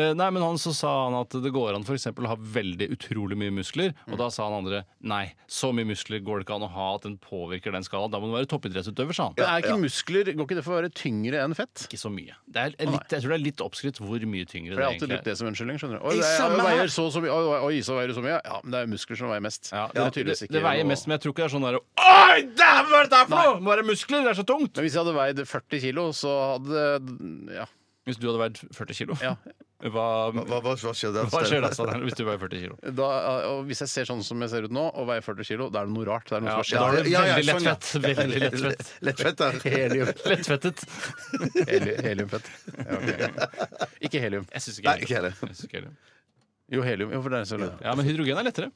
Eh, nei, men han så sa han at det går an for eksempel å ha veldig utrolig mye muskler. Og da sa han andre nei, så mye muskler går det ikke an å ha at den påvirker den skalaen. Da må du være toppidrettsutøver, sa han.
Men er ikke muskler Går ikke det for å være tyngre enn fett?
Ikke så mye. Det er litt, jeg tror det er litt oppskrytt hvor mye tyngre
For
det
Jeg har alltid
egentlig
brukt
er.
det som unnskyldning. skjønner du Oi,
I
det er-
samme
jeg
her.
veier så, så mye. Oi, oi, oi, så veier du så mye. Ja, men det er muskler som veier mest.
Ja,
det, er
det,
tydeligvis ikke
det veier
noe-
mest, men jeg tror ikke det er sånn derre Oi, dæven, hva er dette her for noe?! Må være muskler, det er så tungt!
Men hvis jeg hadde veid 40 kilo, så hadde Ja.
Hvis du hadde veid 40 kilo,
ja.
hva,
Hva, hva, hva skjer da?
hva skjer da, Steinar, hvis du veier 40 kilo?
Da, og hvis jeg ser sånn som jeg ser ut nå, og veier 40 kilo, da er det noe rart. Det er noe
Ja,
som har skjedd.
da har du
Ja, ja,
veldig
sånn, ja.
lettfett. Veldig lettfett.
Lettfett der.
Helium.
Lettfettet.
Heli- Heliumfett. Ja, ok. Ikke helium.
Jeg syns
Nei,
ikke
ikke
det.
heller.
Jeg synes ikke det.
Jo, helium. Jo, for det er så
Ja, men hydrogen er lettere.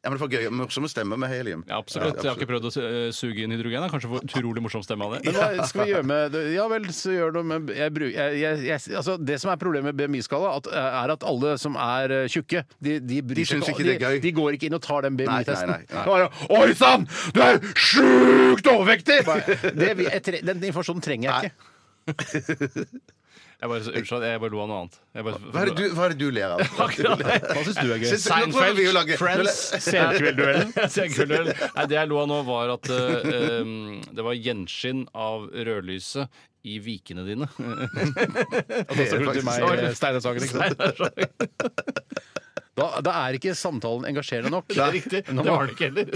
Ja, men det får gøy, morsomme stemmer med helium.
Ja, absolutt. Jeg har ikke prøvd å su- eh, suge inn hydrogen. Jeg Kanskje får utrolig morsom stemme av det.
Men hva skal vi gjøre med det? Ja vel, så gjør noe med jeg, bru- jeg, jeg, jeg, altså Det som er problemet med BMI-skala, at- er at alle som er eh, tjukke, de, de, bryr
De
seg
syns ikke det er
de,
gøy.
de går ikke inn og tar den BMI-testen.
Nei, nei, nei, nei.
Bare, Oi sann! Du er sjukt overvektig! Bare, Det, vil- jeg, tre- den informasjonen trenger jeg ikke.
Jeg bare, unnskyld, jeg bare lo av noe annet. Jeg bare,
Hva er det du, hva er det du ler av?
Hva syns du er gøy?
Syns- nå prøver vi å lage-
Senkveldduellen. Senkveldduellen. Nei, det jeg lo av nå, var at eh, um, det var gjenskinn av rødlyset i vikene dine.
Og så skulle du til meg,
Sorry.
eh, Steinar Sagen, ikke sant? Da, da er ikke samtalen engasjerende nok.
Det er riktig. Det var det ikke heller.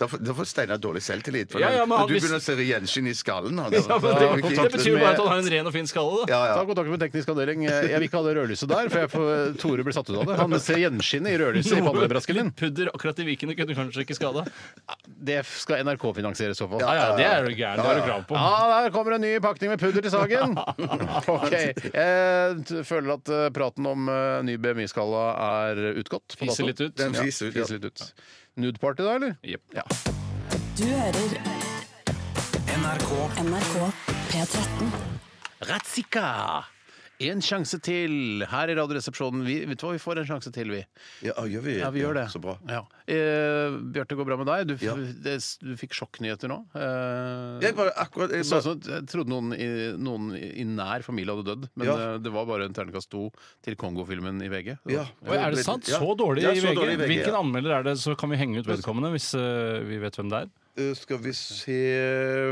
Da får, da får Steinar dårlig selvtillit. For
Ja, ja,
den-
men han-
du
hvis-
begynner å se gjenskinn i skallen. hans.
Ja,
Da
men
har vi
det,
ikke-
det betyr jo bare at han har en ren og fin skalle, da.
ja,
Ta
ja.
kontakt med teknisk avdeling. Eh, Jeg vil ikke ha det rødlyset der, for jeg får, Tore blir satt ut av det. Han ser gjenskinnet i rødlyset i pannebrasken din.
Litt pudder akkurat i vikene kunne kanskje ikke skada.
Det skal NRK finansiere i så fall.
Ja, ja, det er du gæren. Det har du krav på.
Ja, der kommer en ny pakning med pudder til Sagen. Ok, Jeg t- føler at eh, praten om eh, ny BMI-skala er utgått. på
Fiser
dato.
litt ut.
Den
Ja,
fiser ut, ja.
fiser litt ut. Nude party da, eller?
Jepp.
Ja.
Du hører
NRK
NRK P13.
Ratzika! En sjanse til her i Radioresepsjonen. Vi, vet du hva, vi får en sjanse til, vi.
ja, gjør vi,
Ja, vi gjør det.
Så bra.
Ja. Eh, Bjarte, går bra med deg? Du, f
Ja.
det, du fikk sjokknyheter nå. Eh,
Jeg bare akkurat jeg
Sånn
bare,
som jeg trodde noen i, noen i nær familie hadde dødd, men
Ja.
eh, det var bare en terningkast to til Kongo-filmen i VG.
ja.
Oi, er det sant?
Ja.
Så dårlig,
Ja,
i,
så
VG.
dårlig i VG,
Hvilken
ja.
anmelder er det, så kan vi henge ut vedkommende hvis eh, vi vet hvem det er?
Eh, Skal vi se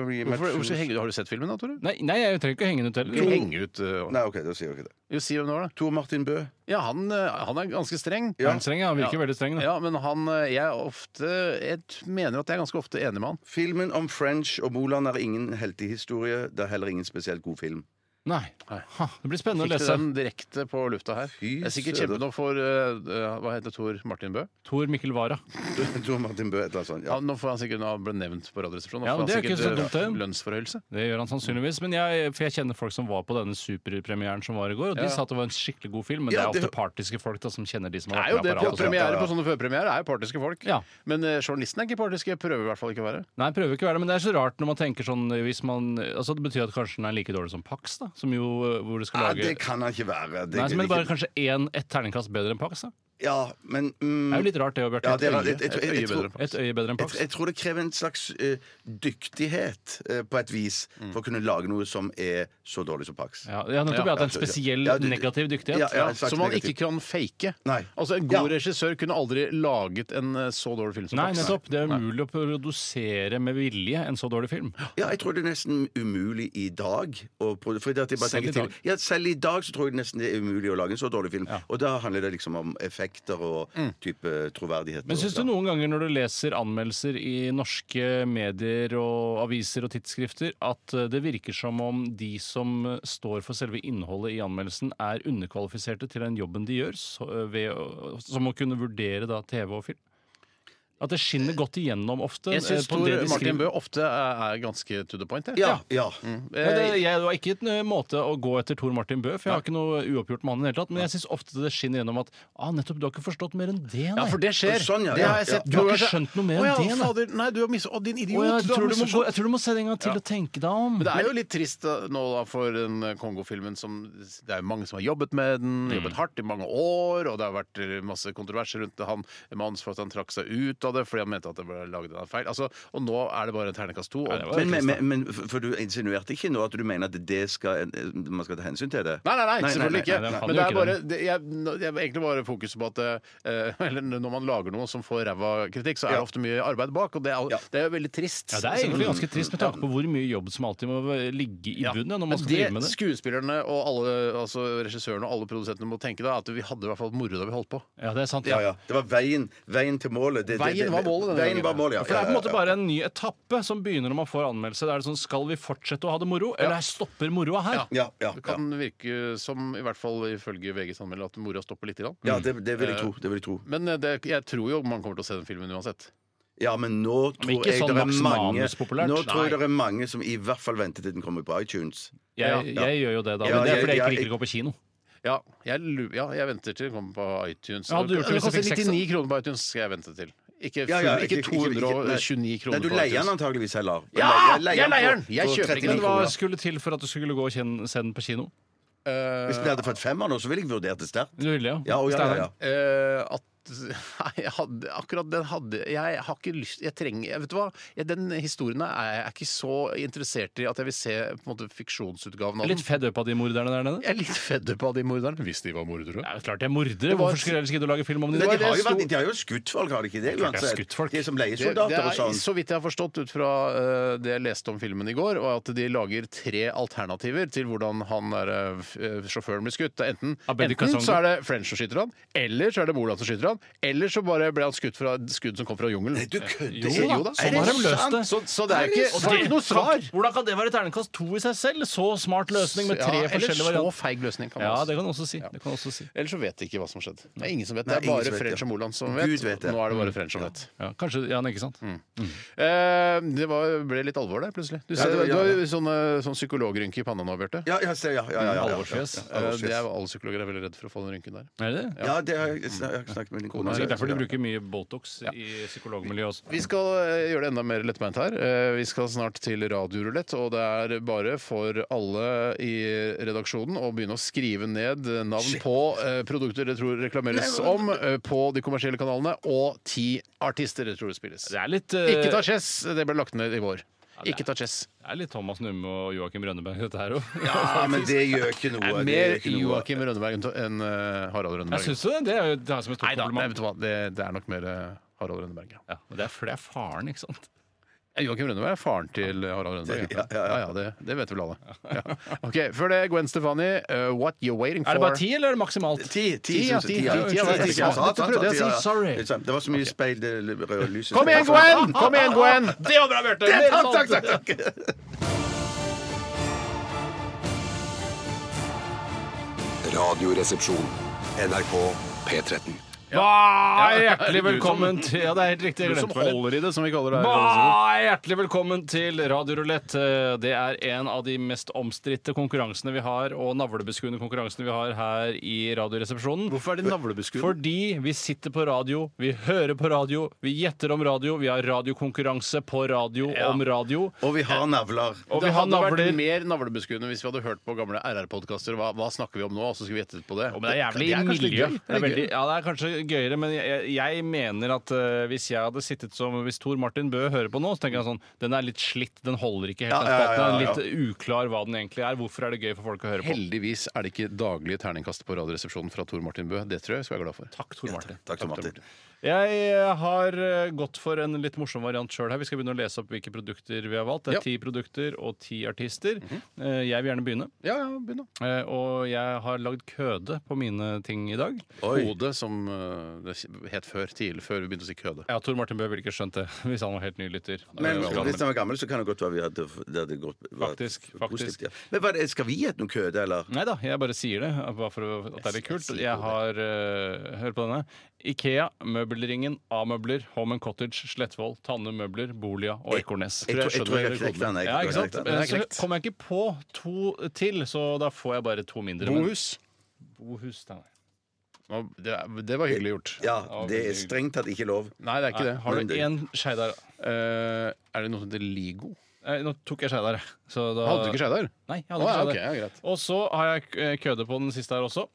Hvorfor, hvorfor henger, du- har du sett filmen da, Tore?
Nei, nei jeg trenger ikke å henge den ut
Ikke
heller.
henge ut eh,
Nei, OK, da sier dere det.
Jo, si hvem det var, da.
Tor Martin Bø.
Ja, han, eh, han er ganske streng.
Ja.
Han er streng, ja. Han virker
Ja.
veldig streng. Da.
Ja, men han eh, Jeg er ofte Jeg t- mener at jeg er ganske ofte enig med han.
Filmen om French og Moland er ingen heltehistorie. Det er heller ingen spesielt god film.
Nei. Ha, det blir spennende å
Fikk du
lese.
den direkte på lufta her?
Fy
Det er sikkert
søder.
kjempenå for eh, eh, Hva heter Tor Martin Bø?
Tor Mikkel Wara.
Tor Martin Bø, et eller annet sånt. Ja.
Han, nå får han sikkert Nå ble han nevnt på Radioresepsjonen. Nå
Ja,
får
men
han
det er
sikkert,
ikke så
eh,
dumt, det.
Lønnsforhøyelse.
Det gjør han sannsynligvis. Men jeg, for jeg kjenner folk som var på denne superpremieren som var i går, og de
Ja.
sa at det var en skikkelig god film. Men
Ja,
det er
det-
ofte partiske folk da, som kjenner de som
Det
har
er jo
vært
det.
med
På
apparatet. sånn.
premiere på sånne førpremierer er jo partiske folk.
altså. Ja.
Men eh, journalisten er ikke partisk. Jeg prøver i hvert fall ikke å være.
Nei, prøver ikke å være det, men det er så rart når man tenker sånn hvis man, altså Det betyr at kanskje den er like dårlig som Pax, da, som jo eh, hvor det skal
Nei,
lage
det kan han ikke være. Det
Nei,
kan
men
ikke-
bare kanskje én, ett terningkast bedre enn Pax. da.
Ja, men mm,
Det er jo litt rart det òg,
ja, det
Bjarte.
er,
Et
jeg, jeg,
øye-
jeg, jeg,
øye bedre
tror-
enn
Et øye bedre enn
jeg,
Pax.
jeg tror det krever en slags eh, dyktighet eh, på et vis for å kunne lage noe som er så dårlig som Pax.
Mm. Ja, ja, nettopp. Ja, at
ja,
det er en
ja.
spesiell
Ja, du-
negativ dyktighet.
Ja, ja, en slags
Som man
negativ.
ikke kan fake.
Nei.
Altså En god
Ja.
regissør kunne aldri laget en eh, så dårlig film som
Nei,
Fox.
nettopp. Det er umulig å produsere med vilje en så dårlig film.
Ja, jeg tror det er nesten umulig i dag. Å, pro- fordi at jeg bare selv,
Selv i
i til, ja, selv i dag så tror jeg nesten det er umulig å lage en så dårlig film. Og da handler det liksom om effekter og type troverdighet.
Mm. Men
og-
syns du
ja.
noen ganger når du leser anmeldelser i norske medier og aviser og tidsskrifter, at eh, det virker som om de som eh, står for selve innholdet i anmeldelsen, er underkvalifiserte til den jobben de gjør, så, eh, ved, å- som å kunne vurdere da TV og film? At det skinner godt igjennom ofte.
Jeg
eh,
syns
på
Tor
det de skriver.
Martin Bø ofte er, er ganske to the point. jeg.
Ja. ja.
Ja, Mm. det, jeg, det var ikke en eh, måte å gå etter Tor Martin Bø, for jeg har ikke noe uoppgjort med han i det hele tatt. Men jeg syns ofte det skinner gjennom at ah, nettopp, du har ikke forstått mer enn det, nei.
Ja, for det skjer.
Sånn, ja,
Det har jeg
ja,
sett.
ja. Du har ikke skjønt noe mer
Å, ja,
enn det, nei.
fader. Nei, du har mis... Å, din idiot!
Å, jeg,
du har
tror du må, gå-
misforstått.
jeg tror du må se det en gang til og tenke deg om.
Men det er jo litt trist da, nå da for den eh, Kongo-filmen som Det er jo mange som har jobbet med den,
Mm.
jobbet hardt i mange år, og det har vært eh, masse kontroverser rundt det. han manns for at han trakk seg ut av det fordi han mente at det ble laget en feil. Altså, og nå er det bare en ternekast to. Og...
det var-
Men, men, men, men for for du insinuerte ikke nå at du mener at det skal, man skal ta hensyn til det?
Nei, nei, nei, selvfølgelig ikke.
nei, nei, han
Men det er
gjør ikke
bare
det.
det, jeg, nå- jeg, har Egentlig bare fokus på at eh, eller når man lager noe som får ræva kritikk, så er det
Ja.
ofte mye arbeid bak, og det er,
Ja.
det er jo veldig trist.
Ja, det er egentlig ganske trist med tanke på hvor mye jobb som alltid må ligge i
Ja.
bunnen. når
Men
man skal drive med det.
Skuespillerne og alle, altså regissørene og alle produsentene må tenke da, at vi hadde i hvert fall moro da vi holdt på.
Ja, det er sant.
Ja, ja. Det var veien, veien til målet. Det, det-
Veien
det-
var målet denne gangen,
Veien var målet, ja.
For det er på en
Ja,
måte
ja,
bare en ny etappe som begynner når man får anmeldelse. Da er det sånn, Skal vi fortsette å ha det moro, eller stopper moroa her?
ja, ja,
Det
ja.
kan virke som, i hvert fall ifølge VGs anmelder, at mora stopper litt. Grann.
ja det, det vil jeg tro. Det vil jeg tro.
Men eh, det, jeg tror jo man kommer til å se den filmen uansett.
Ja, men nå tror
ikke
jeg
sånn
det er mange
maksimalpopulært.
Nå tror jeg
Nei.
det er mange som i hvert fall venter til den kommer på iTunes.
Jeg,
Ja.
jeg gjør jo det, da.
Ja,
Men det er
jeg-
fordi jeg
jeg-
ikke liker å gå på kino.
Ja, jeg, lu- ja, jeg venter til den kommer på iTunes.
Ja, hadde du gjort det hvis
det
du fikk
koster
seks,
99 kroner på iTunes, skal jeg vente til. Ikke, full,
Ja, ja,
ikke,
nei.
229 kroner
Nei, du
på
leier den
iTunes.
antageligvis heller.
Ja,
Leier-
jeg leier den.
på-
Jeg
på
kjøper ikke den.
39
Men hva
kroner.
skulle til for at du skulle gå og kjenne, se den på kino?
Eh,
Hvis vi hadde fått femmer nå, så ville jeg vurdert det sterkt.
Du ville, ja.
Ja, og ja, ja, ja.
Eh, at Nei, jeg hadde, akkurat den hadde Jeg har ikke lyst Jeg trenger Vet du hva? Jeg, den historien er jeg er ikke så interessert i at jeg vil se på en måte fiksjonsutgaven av den.
Litt fed up av de morderne der nede?
Jeg er litt fedd på av de morderne, hvis de var mordere.
Ja, klart de er mordere.
Det var-
Hvorfor skulle ellers ikke du lage film om dem?
Men
var
de
det
har, jo
jeg sto-
vært, de har jo skutt folk, har de ikke det?
Klart de har
uansett?
skutt folk.
De som
Det, det
leiesoldater og
er,
sånn.
så vidt jeg har forstått ut fra eh, det jeg leste om filmen i går, og at de lager tre alternativer til hvordan han der, eh, f- eh, sjåføren blir skutt. Det er Enten,
Abedi
enten
Kasongo.
så er det French som skyter han, eller så er det Moland som skyter han, eller så bare ble han skutt fra et skudd som kom fra jungelen.
Du kødder!
Jo da, sånn har de løst det.
Så, så det er ikke,
Og
det er ikke noe svar.
Hvordan kan det være terningkast to i seg selv? Så smart løsning med tre
Ja,
forskjellige
Eller
varianter.
så feig løsning, kan man
Ja,
også si.
det kan du også si. Det kan du også si.
Ellers så vet de ikke hva som skjedde. Det er ingen som vet.
Nei,
Det er
ingen
bare
som vet,
French
ja.
og Moland som
Gud
vet.
vet Mm. det.
Nå er det bare French som vet.
Ja, kanskje, ja, men ikke sant?
Eh, det var, ble litt alvor der, plutselig. Du, ser,
det var- ja,
du har sånn, sånn psykologrynke i panna nå, Bjarte.
Ja, ja, se, ja, ja, ja, ja, ja.
Alvorsfjes.
Eh, det er alle psykologer er veldig redd for å få den rynken der.
Er det det?
Ja, det har jeg, jeg har snakket med din kone
Det
om.
er sikkert derfor de
Ja.
bruker mye Botox i psykologmiljøet også.
Vi skal eh, gjøre det enda mer lettbeint her. Eh, Vi skal snart til radiorulett, og det er bare for alle i redaksjonen å begynne å skrive ned eh, navn på eh, produkter det tror reklameres om eh, på de kommersielle kanalene, og ti artister det tror spilles.
Det er litt, eh,
Ikke ta chess! Det ble lagt ned i vår. Ikke ta chess.
det er litt Thomas Numme og Joakim Rønneberg, dette her òg.
Ja, men det gjør ikke noe. det gjør
Mer
ikke noe.
Joakim Rønneberg enn eh, Harald
Jeg
Rønneberg.
syns jo det. Det er jo det er som et
Nei
stort
da, nei,
problem.
vet du hva, det, det er nok mer eh, Harald Rønneberg, ja.
Ja, og det er fordi det er faren, ikke sant?
Joakim Rønneberg er faren til Harald Rønneberg.
Ja, ja, ja.
det, det vet vel alle. Ja. Ok, Før det, Gwen Stefani, uh, What You Waiting For.
Er det bare ti, eller er det maksimalt?
Ti, ti,
Ti, ja,
synes
ti,
jeg.
ti, ti, ja,
Unnskyld,
ti,
jeg sa-
ja,
sa-
dette prøvde jeg å
sa-
si,
ja.
sorry.
Det er sant, Det var så mye speil det røde lyset
Kom igjen, Gwen! Kom igjen, Gwen!
Det var bra, Bjarte! Mer
Takk,
sånt.
takk, takk, takk!
Radioresepsjon. NRK P13.
Bah, hjertelig velkommen til Ja, det er helt riktig.
Du
Jeg
som
glemte meg litt.
holder i det, som vi kaller det. her.
Bah, hjertelig velkommen til Radio Rulett. Det er en av de mest omstridte konkurransene vi har, og navlebeskuende konkurransene vi har her i Radioresepsjonen.
Hvorfor er det navlebeskudd?
Fordi vi sitter på radio, vi hører på radio, vi gjetter om radio, vi har radiokonkurranse på radio om radio.
Og vi har navler.
Og
det
vi har
hadde vært
navler.
mer navlebeskuende hvis vi hadde hørt på gamle RR-podkaster. Hva, hva snakker vi om nå? Og så skulle vi gjette på det.
Jo, men det er jævlig
Det er kanskje litt
miljø.
gøy.
Det er veldig, ja, det er kanskje gøyere, men jeg, jeg mener at eh, hvis jeg hadde sittet som Hvis Tor Martin Bø hører på nå, så tenker jeg sånn Den er litt slitt, den holder ikke helt.
Ja,
den
ja, ja, ja,
spalten,
ja.
Den er litt uklar hva den egentlig er. Hvorfor er det gøy for folk å høre på?
Heldigvis er det ikke daglige terningkast på Radioresepsjonen fra Tor Martin Bø. Det tror jeg vi skal være glad for.
Takk, Tor Martin.
Takk, Tom Martin.
Jeg eh, har eh, gått for en litt morsom variant sjøl her. Vi skal begynne å lese opp hvilke produkter vi har valgt. Det
Ja.
er ti produkter og ti artister. Eh, Jeg vil gjerne begynne.
Ja, ja, begynn, da.
Eh, Og jeg har lagd køde på mine ting i dag.
Kode, som eh, det het før, tidlig før vi begynte å si køde.
Ja, Tor Martin Bø ville ikke skjønt det hvis han var helt ny lytter.
Men
Ja,
hvis den var gammel, så kan det godt være vi hadde, det hadde gått vært
Faktisk, faktisk.
ja. Men hva er det, Skal vi gjette noe køde, eller?
Nei da, jeg bare sier det. Bare for å- at det er litt kult. Jeg har eh, Hør på denne. Ikea, Møbelringen, A-møbler, Home and Cottage, Slettvoll, Tanne Møbler, Bolia og Ekornes.
Jeg, tror- jeg tror jeg har knekt den. jeg.
Ja, ikke sant?
Jeg tror jeg har
Men
knekt den.
så kom jeg ikke på to til, så da får jeg bare to mindre. Men- Bohus, da.
Nå, Det, det var hyggelig gjort.
Ja, det er strengt tatt ikke lov.
Nei, det er ikke
Nei,
det.
har
Men
du
det-
én Skeidar?
Eh, er det noe som heter Ligo?
Nei, Nå tok jeg Skeidar, jeg. så da
Hadde du ikke Skeidar?
Nei, jeg
Å,
hadde ikke
ja,
Skeidar.
ok, ja, greit.
Og så har jeg eh, køde på den siste her også.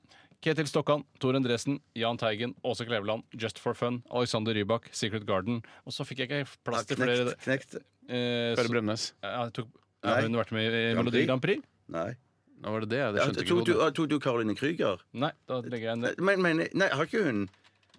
Ketil Stokkan, Tor Endresen, Jahn Teigen, Åse Kleveland, Just for Fun, Alexander Rybak, Secret Garden. Og så fikk jeg ikke
Ja,
plass til flere.
Knekt. knekt.
Eh,
Kåre
så,
Bremnes.
ja, jeg tok, ja,
Nei.
hun har vært med i
Grand
Melodi
Prix?
Grand Prix?
Nei.
Nå var det det, det
Ja,
skjønte
Tok
ikke
du,
Frode.
tok du Caroline Krüger?
Nei, da legger jeg en
Nei, Men, men, nei, har ikke hun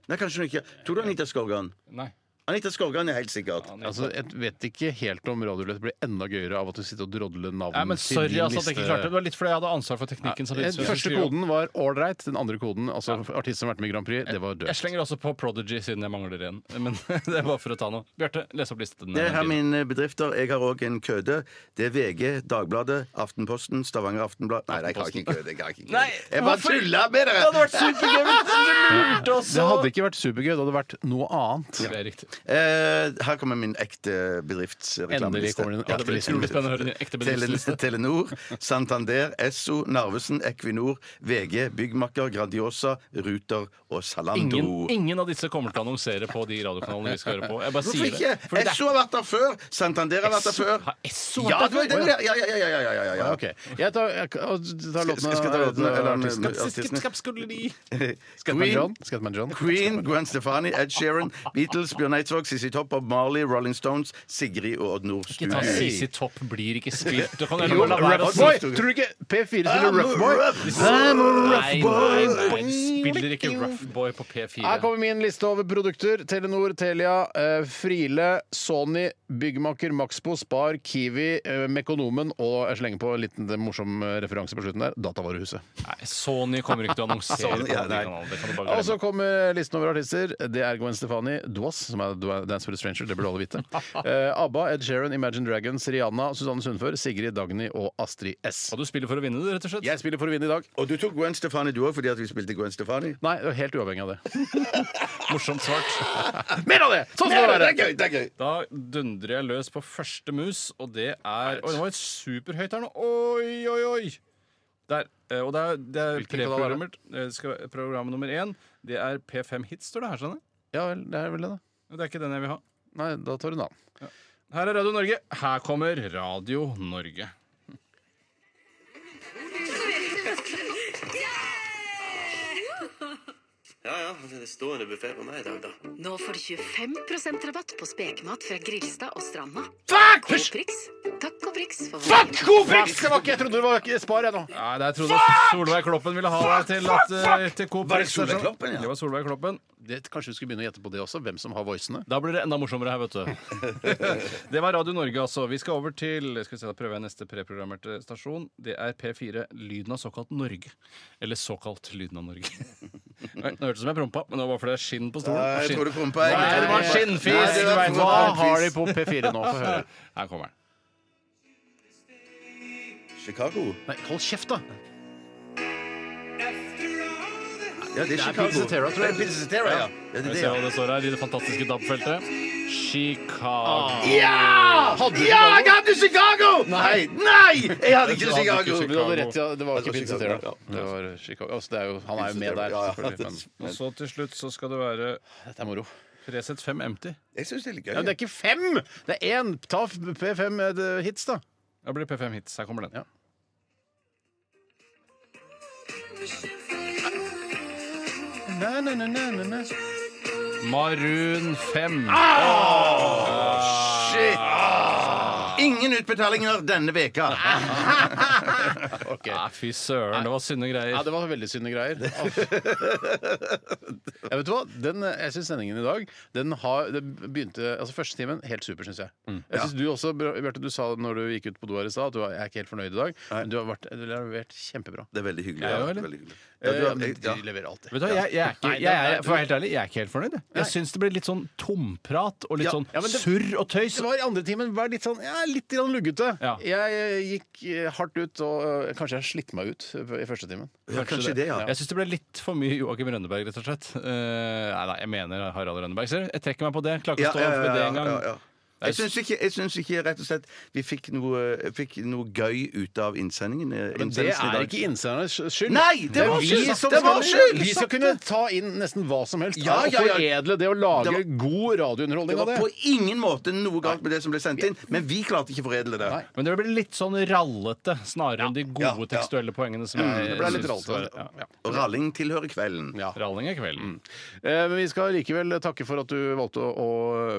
Nei, kanskje hun ikke Tok du Anita Skorgan?
Nei.
Anita Skorgan er helt sikkert.
Altså, jeg vet ikke helt om Radioløs blir enda gøyere av at du sitter og drodler navn
Nei, men
til
Sorry
din
altså, at jeg
liste.
ikke klarte det. Det var litt fordi jeg hadde ansvar for
Nei,
teknikken. samtidig som
Den
jeg
eh, første
skulle gjøre-
koden var ålreit. Den andre koden, altså artist som har vært med i Grand Prix, det var
Jeg
døvt.
slenger også på Prodigy, siden jeg mangler en. Men det er bare for å ta noe. Bjarte, les opp listen.
Det er her mine bedrifter. Jeg har òg en køde. Det er VG, Dagbladet, Aftenposten, Stavanger Aftenblad Nei, nei, jeg har ikke en køde. Jeg, har ikke en køde.
Nei,
jeg bare
hvorfor-
tulla med dere!
vært supergøy! men Du lurte også!
Det hadde ikke vært supergøy, det hadde vært noe annet.
Det er riktig.
Eh, her kommer min ekte bedriftsreklameliste.
Endelig kommer den
Ja, det blir utrolig spennende å høre din ekte bedriftsliste.
Tele- Telenor, Santander, Esso, Narvesen, Equinor, VG, Byggmakker, Grandiosa, Ruter og Salando.
Ingen, ingen av disse kommer til å annonsere på de radiokanalene vi skal høre på. Jeg bare
Hvorfor
sier
ikke?
det. Fordi det er-
Esso har vært der før! Santander har vært der
Esso-
før.
Har Esso vært
ja,
der
det var
før?
det- Ja, ja, ja, ja, ja, ja, ja, ja.
Ok. Jeg tar, jeg, tar låten
Skal- skal jeg ta låten, eller en-
artisten?
Skaps- skaps- skapskolleri.
Scatman John. Scatman John.
Queen, Gwen Stefani, Ed Sheeran, Beatles, Bjørn Eidsvåg, Sissy Topp og Marley, Rolling Stones, Sigrid og Odd
Ikke ta
Nordstuen.
CC Topp blir ikke spilt. Du kan
Jo,
jo la være å
Rough
si
Boy! Tror du ikke P4 spiller
I'm a
Rough Boy?
rough
I'm a rough
Nei, nei, nei, de spiller ikke Rough Boy på
Her
P4.
kommer min liste over produkter. Telenor, Telia, eh, Friele, Sony, Byggmaker, Maxbo, Spar, Kiwi, eh, Mekonomen og jeg slenger på en liten eh, morsom eh, referanse på slutten der Datavarehuset.
Nei, Sony kommer ikke til å annonsere på
Sony, ja, nei.
radiokanalen. Det kan du bare
Og
glemme.
så kommer listen over artister. Det er Gwen Stefani, Duas, som er Du- Dance with a Stranger. Det burde alle vite. Eh, ABBA, Ed Sheeran, Imagine Dragons, Rihanna, Susanne Sundfør, Sigrid, Dagny og Astrid S.
Og du spiller for å vinne, du, rett og slett?
Jeg spiller for å vinne i dag.
Og du tok Gwen Stefani du òg fordi at vi spilte Gwen Stefani?
Nei, det var helt uavhengig av det.
Morsomt svart.
Mer av det! Sånn skal det
Det
være!
er gøy! det er gøy
Da dundrer jeg løs på første mus, og det er Oi, det var superhøyt her nå. Oi, oi, oi! Der. eh, Og det er, det er
Hvilken kanal er
preprogrammert. Eh, skal være- Program nummer én det er P5 Hits, står det her. skjønner jeg.
Ja vel, det er vel det, da.
Og Det er ikke den jeg vil ha.
Nei, da tar du en annen.
Her er Radio Norge. Her kommer Radio Norge.
Ja, ja, det er stående buffé på meg i dag, da.
Nå får du 25 rabatt på spekemat fra Grilstad og Stranda.
Fuck!
Coprix. Takk og priks for
Fuck! God priks! Det var ikke, jeg trodde det var ikke Spar, jeg nå.
Nei, det er Trond at Solveig Kloppen ville ha deg til at eh, til Coop
Var det
Prix,
Solveig
er sånn.
Kloppen, ja?
Det var Solveig Kloppen.
Det, kanskje du skulle begynne å gjette på det også? Hvem som har voicene?
Da blir det enda morsommere her, vet du. det var Radio Norge, altså. Vi skal over til skal vi se, da prøver jeg neste preprogrammerte stasjon. Det er P4 Lyden av såkalt Norge. Eller såkalt Lyden av Norge. Oi, Nå hørtes det ut som jeg prompa, men det var bare fordi det er skinn på stolen.
Nei, jeg
Skinn.
tror du prompa, jeg.
Nei, det var skinnfis!
Nei, det
du
var-
vet
hva har
de på P4 nå? Få høre.
Her kommer den.
Chicago.
Nei, hold kjeft, da!
Ja, det er Chicago.
Pizzatera, tror jeg.
Det er Pizzatera, ja. ja det
Skal
er
vi
det,
se
ja.
hva det står her i det fantastiske DAB-feltet.
Ah.
Chicago.
Hadde
Ja, jeg hadde Chicago! Nei! Nei! Jeg hadde ikke Chicago!
Du hadde rett, ja. Det var ikke
var
Pizza
Chicago,
Terra. Altså, Det var Chicago. Altså, det er jo, han er jo med
Pizza
der,
Terra, ja,
selvfølgelig.
det-
Men
Og så til slutt så skal det være
dette er moro.
Resett 5 Empty.
Jeg syns det er litt
Ja, men
gøy.
det er ikke fem! Det er én! Ta P5 hits, da.
Da blir det P5 Hits. Her kommer den.
Ja. Nei, nei, nei, nei, nei, nei.
Maroon 5.
Ah!
Ingen utbetalinger denne veka.
Ok.
Nei, fy søren, det var synde
Ja,
greier.
det var veldig synde greier. Jeg vet du hva? Den, eh, jeg syns sendingen i dag den har, det begynte, altså Første timen helt super, syns jeg.
Mm.
Jeg synes du også, Bjarte, du sa når du gikk ut på do her i stad at du var, jeg er ikke helt fornøyd i dag. Men du har vært, du har levert kjempebra.
Det er veldig hyggelig.
Ja,
Ja,
eller?
veldig hyggelig. Ja, du
Ja,
har,
men
ja.
de leverer alltid.
Vet du hva, jeg, jeg, er ikke,
Nei, det-
jeg, er, for å være helt ærlig, jeg er ikke helt fornøyd. jeg. Jeg syns det ble litt sånn tomprat og litt
Ja,
sånn
ja, men det-
surr og tøys.
Det var i andre timen var litt sånn, ja, litt grann luggete.
Ja.
Jeg eh, gikk eh, hardt ut, og eh, kanskje jeg slitt meg ut eh, i første timen.
Ja, kanskje det, ja.
Jeg syns det ble litt for mye Joakim Rønneberg, rett og slett. Eh, nei, nei, jeg mener Harald Rønneberg. Ser du, jeg trekker meg på det. Klarer
Ja,
ikke å stå
ja, ja,
ved det
ja,
engang.
ja, ja. Jeg syns ikke, jeg syns ikke rett og slett vi fikk noe, eh, fikk noe gøy ut av innsendingen. eh,
Men det
innsendelsen i
er
dag.
ikke innsendernes skyld.
Nei, det
er
var
vi
skyld.
som
Det var
skal-
skyld.
Vi skal kunne ta inn nesten hva som helst
Ja,
og
ja, ja.
foredle det og lage
Det var-
god
Det
radiounderholdning av
var
det.
på ingen måte noe galt med det som ble sendt inn, men vi klarte ikke å foredle det.
Nei.
Men det ble litt sånn rallete, snarere enn de gode
ja, ja.
tekstuelle poengene. Som jeg
Mm, Det ble litt
syns
rallete.
var- Eh, Ja.
Ja.
Og ralling tilhører kvelden.
Ralling er kvelden.
Eh, Men vi skal likevel takke for at du valgte å, å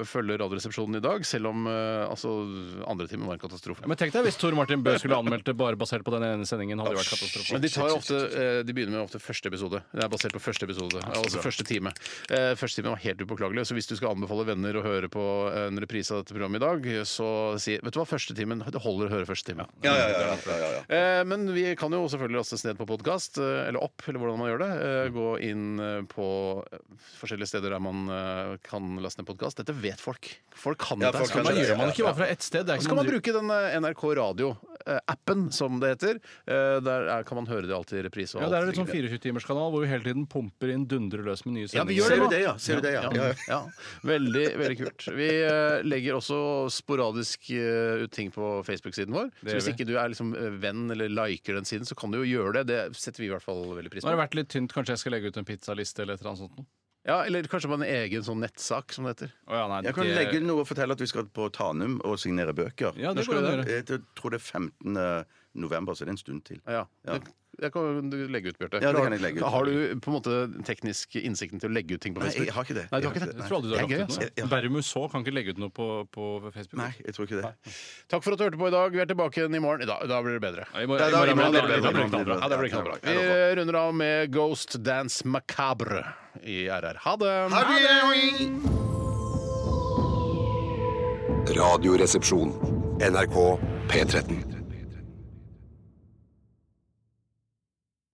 følge Radioresepsjonen i dag, selv om eh, altså, andre timen var en katastrofe.
Ja, men tenk deg hvis Tor Martin Bø skulle anmeldt det bare basert på den ene sendingen. hadde det vært katastrofe.
Men de, tar jo ofte, eh, de begynner med ofte første episode. Det er basert på første episode. Altså første time. Eh, Første time var helt upåklagelig, så hvis du skal anbefale venner å høre på en reprise av dette programmet i dag, så si Vet du hva, første timen Det holder å høre første time.
Ja, ja, ja, ja, ja, ja.
Eh, Men vi kan jo selvfølgelig lastes ned på podkast, eller opp, eller hvordan man gjør det.
Mm.
Eh, Gå inn eh, på forskjellige steder der man eh, kan laste ned podkast. Dette vet folk. Folk kan dette er
Ja,
sant.
Det gjør man ikke bare fra ett sted. Det er
Og
ikke
Så kan
noe
man
du-
bruke den eh, NRK Radio-appen, som det heter. Eh, Der er- kan man høre det alltid i reprise. og
Ja, Det er
alt.
en sånn 24-timerskanal hvor vi hele tiden pumper inn dundre løs med nye
Ja, vi
sendinger.
gjør det, da.
Ser du det, ja?
Ja, ja. Veldig veldig kult. Vi eh, legger også sporadisk eh, ut ting på Facebook-siden vår.
gjør
Så hvis
vi.
ikke du er liksom eh, venn eller liker den siden, så kan du jo gjøre det. Det setter vi i hvert fall veldig pris
Nå har det
på.
vært litt tynt. Kanskje jeg skal legge ut en pizzaliste eller et eller annet sånt noe.
Ja, Eller kanskje på en egen sånn nettsak, som det heter.
Å ja, nei,
Jeg kan
det-
legge noe og fortelle at vi skal på Tanum og signere bøker.
Ja,
Når
det
skal
går
du
an å
det? Jeg tror det er 15. november, så det er en stund til.
Ja.
Ja.
Det, det kan du legge ut, Bjarte.
Ja, det kan jeg legge ut.
Har du på en måte den tekniske innsikten til å legge ut ting på
Nei,
Facebook?
jeg har ikke det.
Nei, du har ikke
Jeg
det.
har
Jeg tror aldri du har
Det er
lagt ut
gøy,
noe. Bærum Uså kan ikke legge ut noe på, på Facebook.
Nei, jeg tror ikke det.
Takk for at du hørte på i dag. Vi er tilbake igjen i morgen. Da, da blir det bedre.
Ja, i morgen-
Ja, da-
i morgen-
i morgen-
da blir det
da
bedre.
blir det knallbra. Ja, da blir det knallbra. Vi runder av med Ghost Dance Macabre i RR. Ha det!
Radioresepsjon. NRK P13.